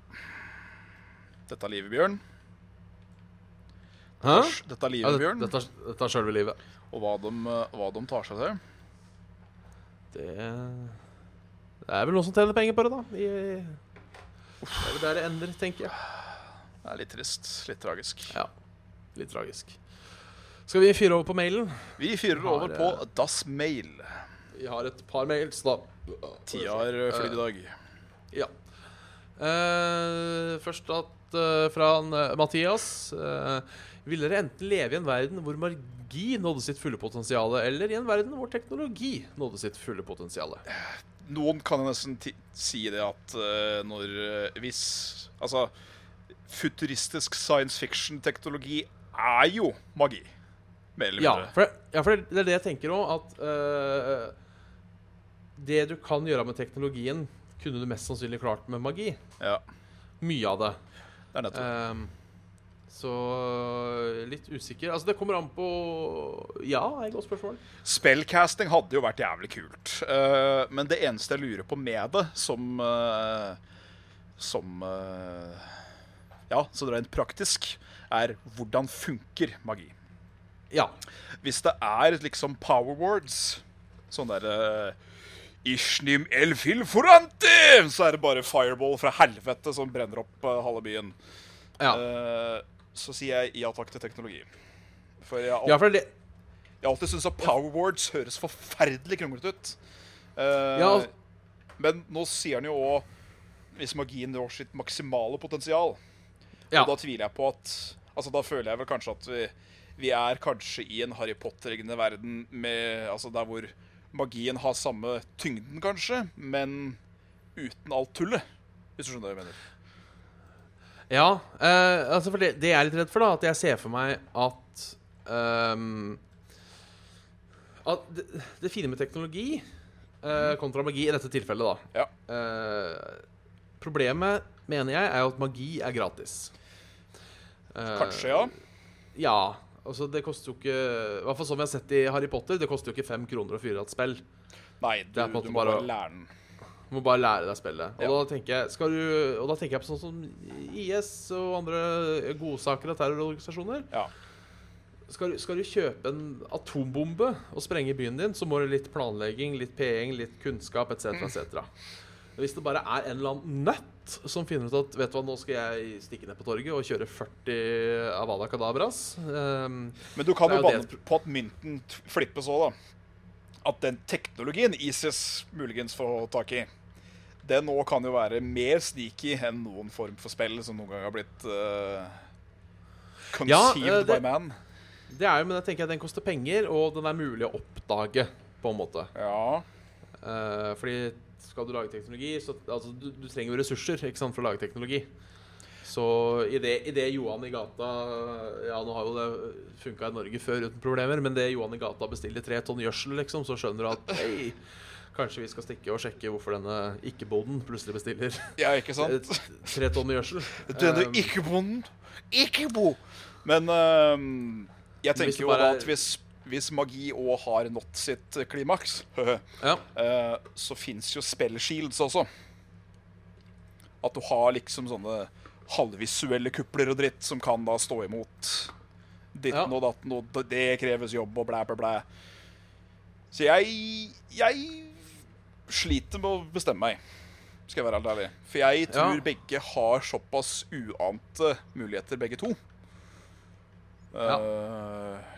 Dette er livet, Bjørn. Hæ? Dette Ja, er livet, det- Bjørn. dette er- dette er sjølve livet. Og hva de, eh, hva de tar seg til. Det, det er vel noen som tjener penger på det, da. I, det er vel der det ender, tenker jeg. Det er litt trist. Litt tragisk. Ja, litt tragisk. Skal vi fyre over på mailen? Vi fyrer Har, eh, over på Das Mail. Vi har et par mails, da. Tida har eh, flydd i dag. Ja. Eh, først at, eh, fra han, eh, Mathias. Eh, ville dere enten leve i en verden hvor magi nådde sitt fulle potensial, eller i en verden hvor teknologi nådde sitt fulle potensial? Noen kan jo nesten ti si det at eh, når eh, Hvis Altså, futuristisk science fiction-teknologi er jo magi. Mer eller Ja, mindre. for, det, ja, for det, det er det jeg tenker òg, at eh, Det du kan gjøre med teknologien, kunne du mest sannsynlig klart med magi. Ja, Mye av det. det er nettopp. Ehm, så litt usikker. Altså, det kommer an på Ja, er et godt spørsmål. Spellcasting hadde jo vært jævlig kult. eh, men det eneste jeg lurer på med det, som eh, Som eh, Ja, så rent praktisk, er hvordan funker magi? Ja. Hvis det er liksom power words Sånn der eh, Ishnim el filforante Så er det bare fireball fra helvete Som brenner opp eh, halve byen Ja, Eh, Så sier jeg ja takk til teknologi For jeg har ja alltid, for det er det jeg har alltid syntes at power words Høres forferdelig krumlet ut Eh, Ja. altså, Men nå sier han jo også Hvis magien når sitt maksimale potensial Ja. og da tviler jeg på at Altså, da føler jeg vel kanskje at vi, vi er kanskje i en Harry Potter-lignende verden med Altså der hvor magien har samme tyngden, kanskje, men uten alt tullet. Hvis du skjønner hva jeg mener. Ja, eh, altså for det, det jeg er litt redd for, da, at jeg ser for meg at ehm, At det, det fine med teknologi eh, kontra magi i dette tilfellet, da Ja. eh, Problemet, mener jeg, er jo at magi er gratis. Eh, Kanskje, ja. Ja. Altså, det koster jo ikke I hvert fall som vi har sett i Harry Potter, det koster jo ikke fem kroner å fyre av et spill. Nei, du, det er på en måte du må bare bare å- lære den. Du må bare lære deg spillet. Og, Ja. da tenker jeg, skal du, og da tenker jeg på sånn som IS og andre godsaker og terrororganisasjoner. Ja. Skal, du- skal du kjøpe en atombombe og sprenge byen din, så må det litt planlegging, litt peing, litt kunnskap etc. etc. Hvis det bare er en eller annen nøtt som finner ut at vet du hva, nå skal jeg stikke ned på torget og kjøre 40 Avada Kadabras ehm, Men du kan Det jo er jo banne det- på at mynten t- flippes òg, da. At den teknologien ISIS muligens får tak i, den òg kan jo være mer sneaky enn noen form for spill som noen gang har blitt eh, Ja, eh, conceived by det- man. Det er jo, men jeg tenker at den koster penger, og den er mulig å oppdage, på en måte. Ja. Eh, fordi skal du lage teknologi, så altså, du, du trenger jo ressurser ikke sant, for å lage teknologi. Så i det, i det Johan i gata Ja, nå har jo det funka i Norge før uten problemer, men det Johan i gata bestiller tre tonn gjødsel, liksom, så skjønner du at hei, kanskje vi skal stikke og sjekke hvorfor denne ikke-boden plutselig bestiller Ja, ikke sant? eh, (laughs) tre tonn gjødsel. Denne Um, ikke-bonden. Ikke-bo! Men ehm, jeg Men hvis tenker det jo bare da er- at hvis, hvis magi òg har nådd sitt eh, klimaks, (laughs) eh, ja. så fins jo spellshields også. At du har liksom sånne halvvisuelle kupler og dritt som kan da stå imot Ja. ditten og datten, og d- det kreves jobb og blæ, blæ, blæ. Så jeg Jeg sliter med å bestemme meg, skal jeg være helt ærlig. For jeg tror Ja. begge har såpass uante muligheter, begge to. Eh,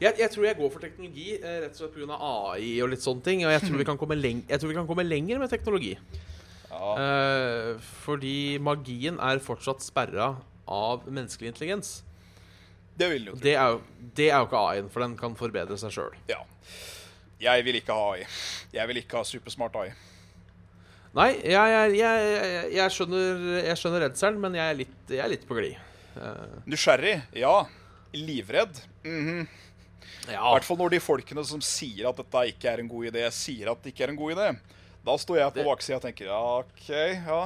Jeg, jeg tror jeg går for teknologi eh, rett og slett pga. AI og litt sånne ting. Og jeg tror vi kan komme, leng jeg tror vi kan komme lenger med teknologi. Eh, fordi magien er fortsatt sperra av menneskelig intelligens. det vil jeg jo Det er jo, det er jo ikke AI-en, for den kan forbedre seg sjøl. Ja. Jeg vil ikke ha AI. Jeg vil ikke ha supersmart AI. Nei, jeg, jeg, jeg, jeg- jeg skjønner, jeg skjønner redselen, men jeg er litt, jeg er litt på glid. Nysgjerrig, ja. Livredd. I Ja. hvert fall når de folkene som sier at dette ikke er en god idé, sier at det ikke er en god idé. Da står jeg på Det- baksida og tenker ja, OK, ja.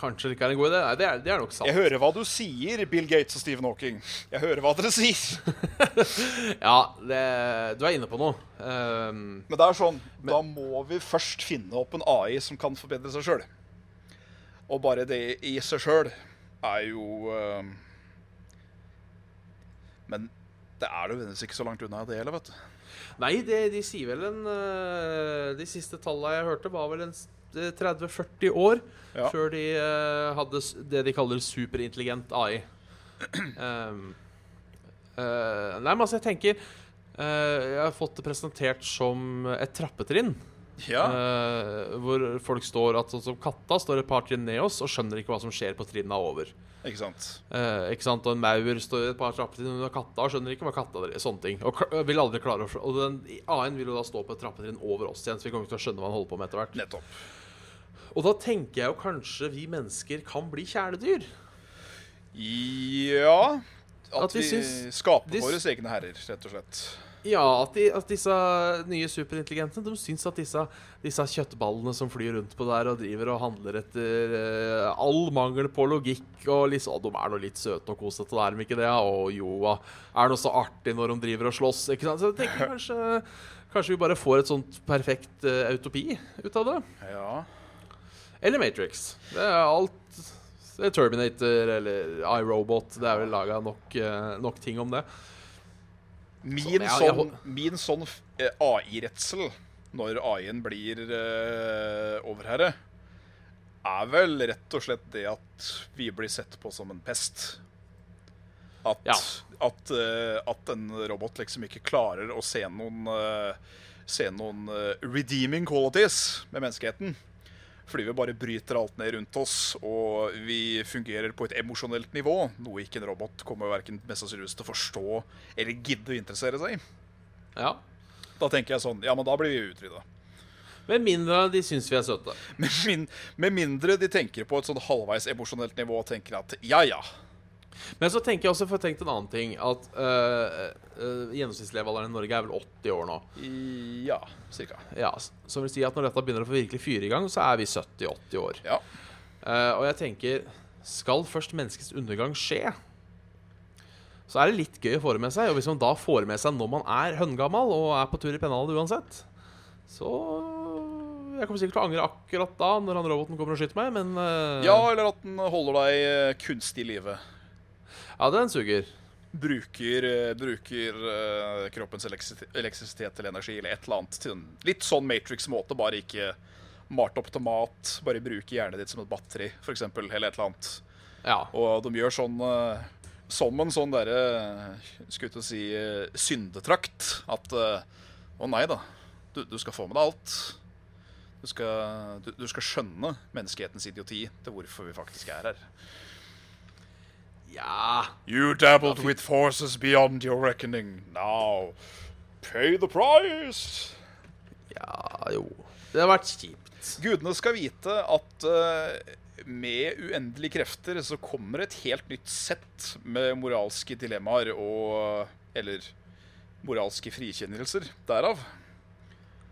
Kanskje det ikke er en god idé. Nei, det er, det er nok sant. Jeg hører hva du sier, Bill Gates og Stephen Hawking. Jeg hører hva dere sier. Ja, det, du er inne på noe. Ehm, Men det er sånn, da må vi først finne opp en AI som kan forbedre seg sjøl. Og bare det i seg sjøl er jo eh, Men det er nødvendigvis ikke så langt unna det heller, vet du. Nei, det, de sier vel en eh, De siste tallene jeg hørte, var vel en s- 30-40 år Ja. før de eh, hadde s- det de kaller superintelligent AI. Ehm, eh, nei, men altså, jeg tenker eh, Jeg har fått det presentert som et trappetrinn Ja. eh, hvor folk står at, sånn som katta står et par trinn ned oss og skjønner ikke hva som skjer på trinna over. Ikke sant? Eh, ikke sant? Og en maur står et par trappetrinn under katta og skjønner ikke hva katta dreier Sånne ting. Og kl- vil aldri klare å skjø- Og den A-en vil jo da stå på et trappetrinn over oss igjen, så vi kommer ikke til å skjønne hva han holder på med etter hvert. Nettopp. Og da tenker jeg jo kanskje vi mennesker kan bli kjæledyr. Ja At, At vi vi, syns- skaper de s- våre egne herrer, rett og slett. Ja, at, de, at disse nye superintelligentene De syns at disse, disse kjøttballene som flyr rundt på der og driver og handler etter eh, all mangel på logikk og liksom, «Å, De er nå litt søte og kosete, er de ikke det? Og joa, er noe så artig når de driver og slåss? Ikke sant? Så jeg tenker kanskje, kanskje vi bare får et sånt perfekt eh, utopi ut av det. Ja. Eller Matrix. Det er alt det er Terminator eller iRobot. Det er vel laga nok, eh, nok ting om det. Min jeg- jeg sånn, hå- min sånn f- eh, AI-redsel når AI-en blir eh, overherre, er vel rett og slett det at vi blir sett på som en pest. At, Ja. at, eh, at en robot liksom ikke klarer å se noen eh, Se noen eh, redeeming qualities med menneskeheten. Fordi vi bare bryter alt ned rundt oss, og vi fungerer på et emosjonelt nivå. Noe ikke en robot kommer verken mest sannsynligvis til å forstå eller gidde å interessere seg i. Ja. Da tenker jeg sånn, ja, men da blir vi utrydda. Med mindre de syns vi er søte. (laughs) Med, min, med mindre de tenker på et sånn halvveis emosjonelt nivå og tenker at ja, ja. Men så tenker jeg også, for jeg tenkte en annen ting, at øh, øh, gjennomsnittslevealderen i Norge er vel 80 år nå. Ja, cirka. Ja, s- Som vil si at når dette begynner å få virkelig fyre i gang, så er vi 70-80 år. Ja. Eh, og jeg tenker, skal først menneskets undergang skje? Så er det litt gøy å få det med seg. Og hvis man da får det med seg når man er høngammal og er på tur i pennalet uansett, så Jeg kommer sikkert til å angre akkurat da, når han roboten kommer og skyter meg, men eh, ja, eller at den holder deg eh, kunstig i live. ja, den suger. Bruker, eh, bruker eh, kroppens elektrisi- elektrisitet til energi eller et eller annet. Til en litt sånn Matrix-måte, bare ikke malt opp til mat. Bare bruke hjernen ditt som et batteri, f.eks., eller et eller annet. Ja. Og de gjør sånn eh, som en sånn derre eh, Skulle til å si eh, syndetrakt. At eh, Å nei da. Du, du skal få med deg alt. Du skal, du, du skal skjønne menneskehetens idioti til hvorfor vi faktisk er her. ja. You dabbled with forces beyond your reckoning. Now pay the price. Ja, jo. Det har vært kjipt. Gudene skal vite at eh, med uendelige krefter så kommer et helt nytt sett med moralske dilemmaer og Eller moralske frikjennelser derav.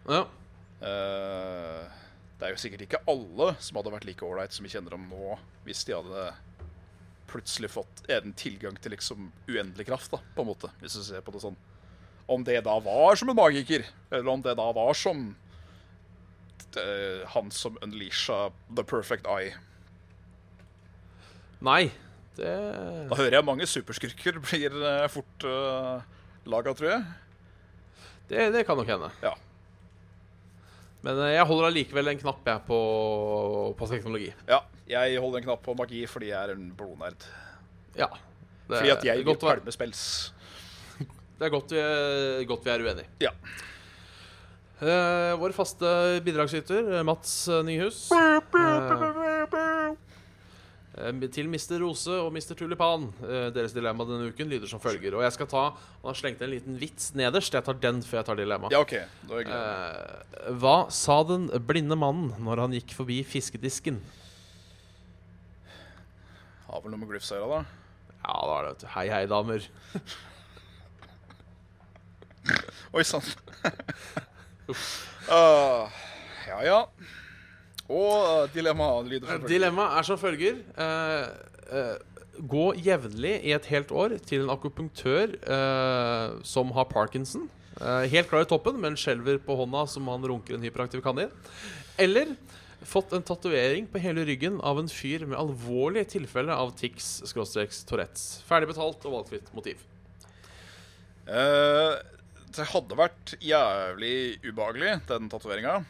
Ja. Eh, det er jo sikkert ikke alle som hadde vært like ålreit som vi kjenner dem nå, hvis de hadde plutselig fått en tilgang til liksom uendelig kraft, da, på en måte, hvis du ser på det sånn. Om det da var som en magiker, eller om det da var som eh, han som unleasha The Perfect Eye. Nei. Det Da hører jeg mange superskurker blir eh, fort uh, laga, tror jeg. Det, det kan nok hende. Ja. Men eh, jeg holder allikevel en knapp jeg på, på teknologi. ja. Jeg holder en knapp på magi fordi jeg er en blodnerd. Ja. Det, Fordi at det jeg er Eh, vil godt, å være- pælme spels. det er godt vi, godt vi er uenige. Ja. Eh, vår faste bidragsyter, eh, Mats eh, Nyhus. Eh, eh, til Mr. Rose og Mr. Tulipan. Eh, deres dilemma denne uken lyder som følger. Og jeg skal ta Han har slengt en liten vits nederst. Jeg tar den før jeg tar dilemmaet. Ja, OK. Da er jeg glad. Eh, hva sa den blinde mannen når han gikk forbi fiskedisken? Har vel noe med glyphs å gjøre, da. Ja, da er det vet du. Hei, hei, damer. Oi sann. (laughs) Ah, ja, ja. Og dilemmaet Eh, lyder selvfølgelig Dilemmaet er som følger. eh, eh, gå jevnlig i et helt år til en akupunktør eh, som har parkinson. Eh, helt klar i toppen, men skjelver på hånda som han runker en hyperaktiv kanin. Eller fått en tatovering på hele ryggen av en fyr med alvorlige tilfeller av tics-tourettes. Ferdig betalt og valgfritt motiv. Eh, Det hadde vært jævlig ubehagelig, den tatoveringa.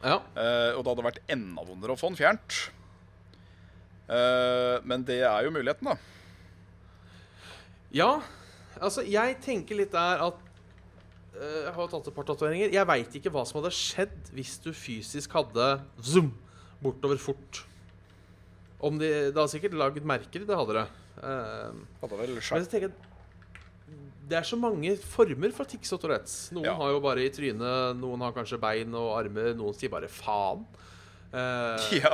Ja. Eh, og det hadde vært enda vondere å få den fjernt. Eh, men det er jo muligheten, da. Ja, altså jeg tenker litt der at eh, Jeg har jo tatt et par tatoveringer. Jeg veit ikke hva som hadde skjedd hvis du fysisk hadde zoom bortover fort. Om de, det hadde sikkert laget merker, det hadde det. Eh, Hadde vel men så tenker jeg det er så mange former for tics og Tourettes. Noen Ja. har jo bare i trynet, noen har kanskje bein og armer, noen sier bare faen. Eh, (laughs) Ja.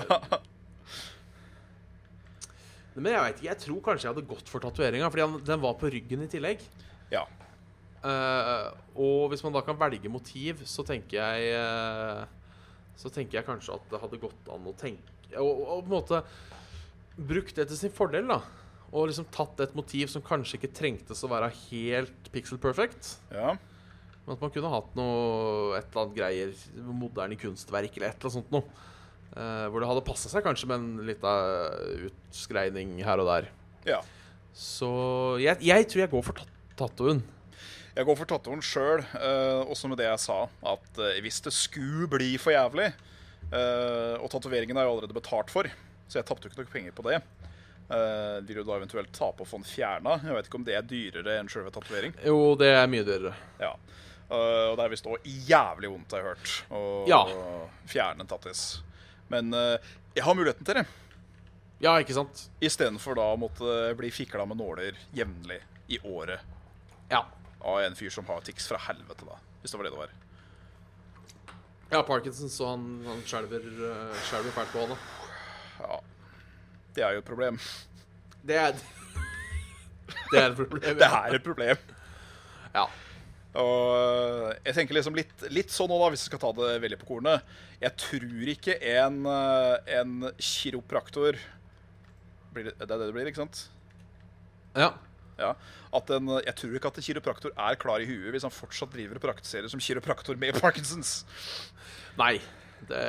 Men jeg vet ikke, jeg tror kanskje jeg hadde gått for tatoveringa, fordi han, den var på ryggen i tillegg. ja. Eh, og hvis man da kan velge motiv, så tenker jeg eh, Så tenker jeg kanskje at det hadde gått an å tenke Og, og på en måte brukt det til sin fordel, da. Og liksom tatt et motiv som kanskje ikke trengtes å være helt pixel perfect. ja. Men at man kunne hatt noe et eller annet greier, moderne kunstverk eller et eller annet sånt noe. Eh, hvor det hadde passa seg kanskje med en lita utskreining her og der. ja. Så jeg, jeg tror jeg går for tat- tattoen. Jeg går for tattoen sjøl, også med det jeg sa. At eh, hvis det skulle bli for jævlig eh, Og tatoveringen er jo allerede betalt for, så jeg tapte jo ikke noe penger på det. Eh, vil jo da eventuelt tape og få den fjerna. Jeg vet ikke om det er dyrere enn sjølve tatovering. Jo, det er mye dyrere. Ja. Eh, og det er visst òg jævlig vondt, har jeg hørt, å Ja. fjerne en tattis. Men eh, jeg har muligheten til det. Ja, ikke sant? Istedenfor da å måtte bli fikla med nåler jevnlig i året Ja. av en fyr som har tics fra helvete, da. Hvis det var det det var. Ja, Parkinson, så han, han skjelver eh, skjelver fælt på hånda. Ja. Det er jo et problem. Det er (laughs) Det er et problem. Det er et problem. Ja. Og jeg tenker liksom litt, litt sånn nå, da, hvis jeg skal ta det veldig på kornet. Jeg tror ikke en, eh, en kiropraktor blir det, det er det det blir, ikke sant? ja. Ja. At en, jeg tror ikke at en kiropraktor er klar i huet hvis han fortsatt driver og praktiserer som kiropraktor med Parkinsons. Nei. Det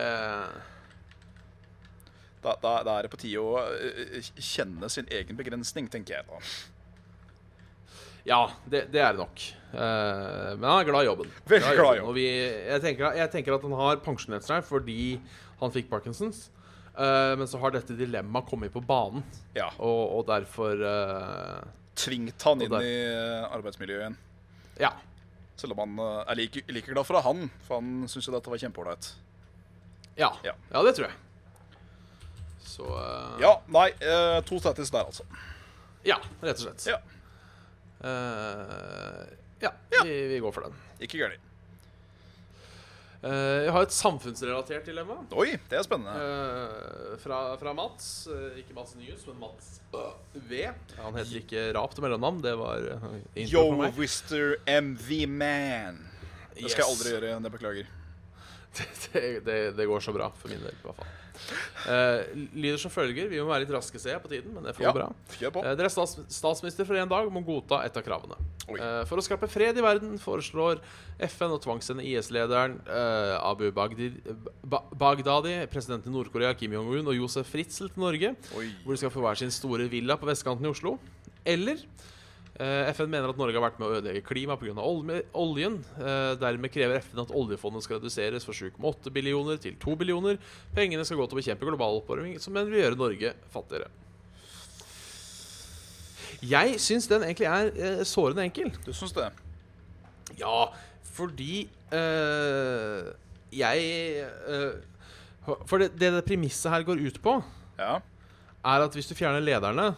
Da, da, da er det på tide å eh, kjenne sin egen begrensning, tenker jeg da. Ja, det, det er det nok. Eh, men han er glad i (laughs) jobben. Veldig glad i jobben. Og vi, jeg, tenker, jeg tenker at han har pensjonert seg fordi han fikk Parkinsons. Eh, men så har dette dilemmaet kommet på banen, Ja. og, og derfor eh, Tvingt han inn Og der- i eh, arbeidsmiljøet igjen. Ja. Selv om han eh, er like, like glad for det, han, for han syns jo dette var kjempeålreit. Ja. Ja. ja, det tror jeg. Så eh, Ja, nei, eh, to status der, altså. ja, rett og slett. Ja, Eh, ja, Ja. Vi, vi går for den. Ikke gærent. Eh, jeg har et samfunnsrelatert dilemma Oi, det er spennende. eh, fra, fra Mats. Eh, ikke Mats Nyhus, men Mats øh, V. Han heter ikke Rap til mellomnavn. Det var uh, Yo, intro for meg. Mr. MV-man. Det skal jeg aldri gjøre igjen, jeg beklager. (laughs) det, det, det går så bra, for min del i hvert fall. Eh, lyder som følger. Vi må være litt raske, ser jeg, på tiden, men det får Ja. gå bra. Kjør på. Eh, Dere er stats statsminister for en dag og må godta et av kravene. Oi. Eh, For å skape fred i verden foreslår FN å tvangssende IS-lederen eh, Abu Bagdi, ba Bagdadi, presidenten i Nord-Korea Kim Jong-un og Josef Fritzl til Norge, Oi. hvor de skal få hver sin store villa på vestkanten i Oslo. Eller eh, FN mener at Norge har vært med å ødelegge klimaet pga. oljen. Eh, dermed krever FN at oljefondet skal reduseres fra 7,8 billioner til 2 billioner. Pengene skal gå til å bekjempe global oppvarming, som vil gjøre Norge fattigere. Jeg syns den egentlig er eh, sårende enkel. Du syns det? Ja, fordi eh, jeg eh, For det, det det premisset her går ut på, Ja. er at hvis du fjerner lederne,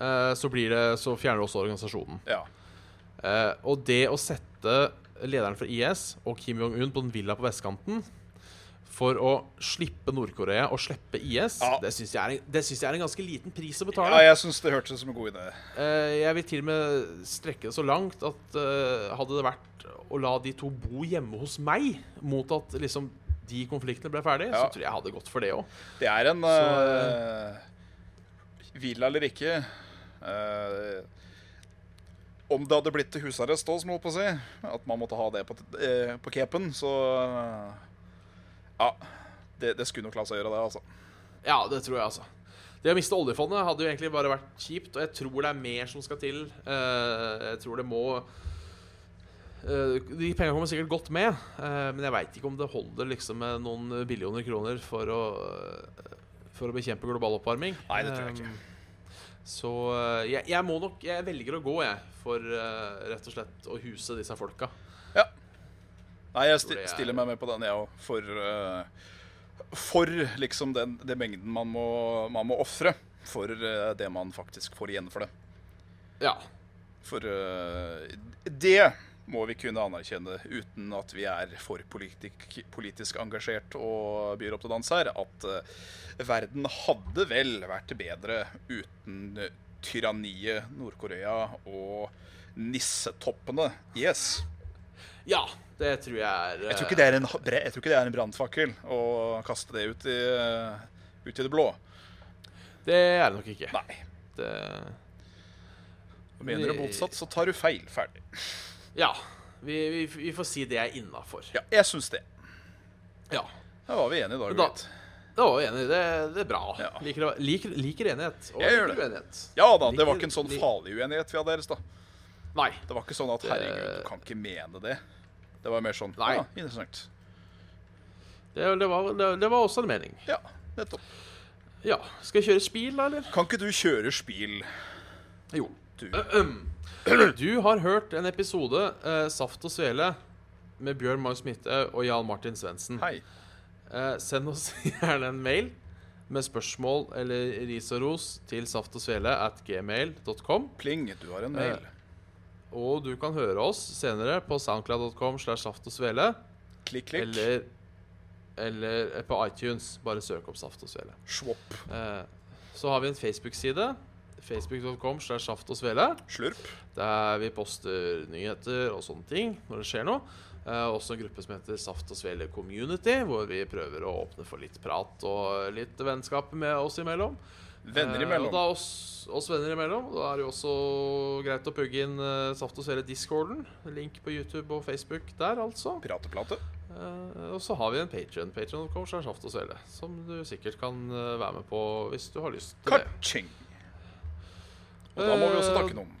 eh, så, blir det, så fjerner du også organisasjonen. Ja. Eh, og det å sette lederen for IS og Kim Jong-un på en villa på vestkanten for å slippe Nord-Korea og slippe IS, Ja. det syns jeg, er en- det syns jeg er en ganske liten pris å betale. ja jeg syns det hørtes ut som en god idé. Eh, jeg vil til og med strekke det så langt at eh, hadde det vært å la de to bo hjemme hos meg, mot at liksom de konfliktene ble ferdig, Ja. så tror jeg jeg hadde gått for det òg. Det er en Så, eh, Villa eller ikke eh, Om det hadde blitt til husarrest òg, som jeg holdt på å si, at man måtte ha det på, t- eh, på capen, så eh, Ja. Det, det skulle nok la seg gjøre, det, altså. Ja, det tror jeg, altså. Det å miste oljefondet hadde jo egentlig bare vært kjipt, og jeg tror det er mer som skal til. Eh, jeg tror det må eh, De pengene kommer sikkert godt med, eh, men jeg veit ikke om det holder liksom med noen billioner kroner for å, eh, for å bekjempe global oppvarming. Nei, det tror jeg ikke. Eh, Så eh, jeg, jeg må nok Jeg velger å gå, jeg, for eh, rett og slett å huse disse folka. Ja. Nei, jeg sti det er- stiller meg med på den, jeg òg. For, eh, for liksom den, den mengden man må, man må ofre for eh, det man faktisk får igjen for det. Ja. For eh, det må vi kunne anerkjenne uten at vi er for politik politisk engasjert og byr opp til dans her, at eh, verden hadde vel vært bedre uten eh, tyranniet Nord-Korea og nissetoppene. Yes. Ja, det tror jeg er Jeg tror ikke det er en, ha- bre- jeg tror ikke det er en brannfakkel å kaste det ut i, eh, ut i det blå. eh, Det er det nok ikke. Nei. Det, Mener du motsatt, så tar du feil. Ferdig. ja. Vi, vi, vi får si det er innafor. Ja, jeg syns det. Ja. Da var vi enige i dag. Men da- gutt. Da var vi enige. Det, det er bra. Ja. Liker, liker, liker enighet. Og Jeg gjør liker det. uenighet. Ja da, det var ikke en sånn Liker- farlig uenighet vi hadde deres, da. Nei. Det var ikke sånn at Det- 'herregud, du kan ikke mene det'. Det var mer sånn Nei. ja, interessant. Det, det, var, det, det var også en mening. Ja, nettopp. Ja. Skal jeg kjøre spil, da, eller? Kan ikke du kjøre spil? Jo. Du. (clears throat) Du har hørt en episode, eh, Saft og Svele, med Bjørn Magnus Midthaug og Jarl Martin Svendsen. Hei. Eh, send oss (laughs) gjerne en mail med spørsmål eller ris og ros til saftogsvele at gmail.com. Pling, du har en Eh, mail. Og du kan høre oss senere på soundcloud.com slash saftogsvele Klikk, klikk. eller, eller på iTunes. Bare søk opp Saft og Svele. Svopp. Eh, så har vi en Facebook-side. Facebook.com slash saft og svele. Slurp. Der vi poster nyheter og sånne ting når det skjer noe. Eh, også en gruppe som heter Saft og Svele Community, hvor vi prøver å åpne for litt prat og litt vennskap med oss imellom. Venner Eh, og imellom. da oss, oss venner imellom. Da er det jo også greit å pugge inn eh, Saft og Svele Discorden. Link på YouTube og Facebook der, altså. Prateplate. Eh, og så har vi en Patreon Patreon.com slash Saft og Svele, som du sikkert kan eh, være med på hvis du har lyst til det. Kaching. Og da må vi også takke noen. Jeg vil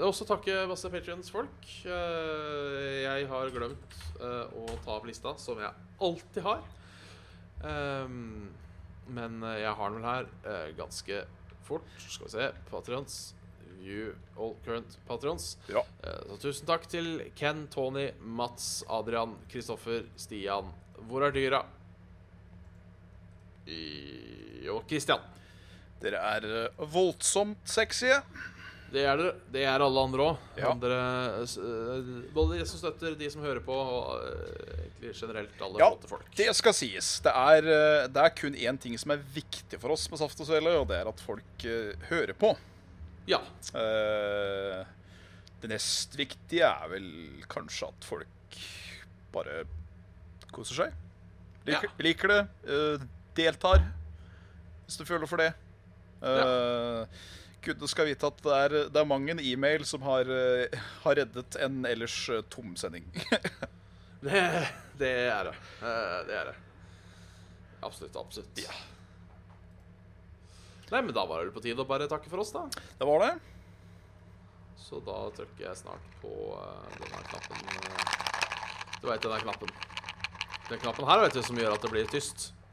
Eh, også takke masse Patrions folk. Eh, Jeg har glemt eh, å ta opp lista, som jeg alltid har. Ehm, Men eh, jeg har den vel her eh, ganske fort. Skal vi se. Patrions. View all current patrions. Bra. Eh, Så tusen takk til Ken, Tony, Mats, Adrian, Kristoffer, Stian. Hvor er dyra? I- Og Christian. Dere er eh, voldsomt sexy. Det er dere. Det er alle andre òg. Ja. eh, Både de som støtter, de som hører på, og eh, egentlig generelt alle Ja, flotte folk. det skal sies. Det er, eh, det er kun én ting som er viktig for oss med Saft og Svele, og det er at folk eh, hører på. Ja. (laughs) Eh, Det nest viktige er vel kanskje at folk bare koser seg. Liker, liker det. eh, deltar, hvis du føler for det. Uh, Gudene skal vite at det er, det er mang en e-mail som har, eh, har reddet en ellers eh, tom sending. (laughs) Det, det er det. Eh, Det er det. Absolutt. Absolutt. Ja. Nei, men da var det vel på tide å bare takke for oss, da. Det var det. Så da trykker jeg snart på eh, denne knappen. eh, Du veit denne knappen. Den knappen her vet du, som gjør at det blir tyst.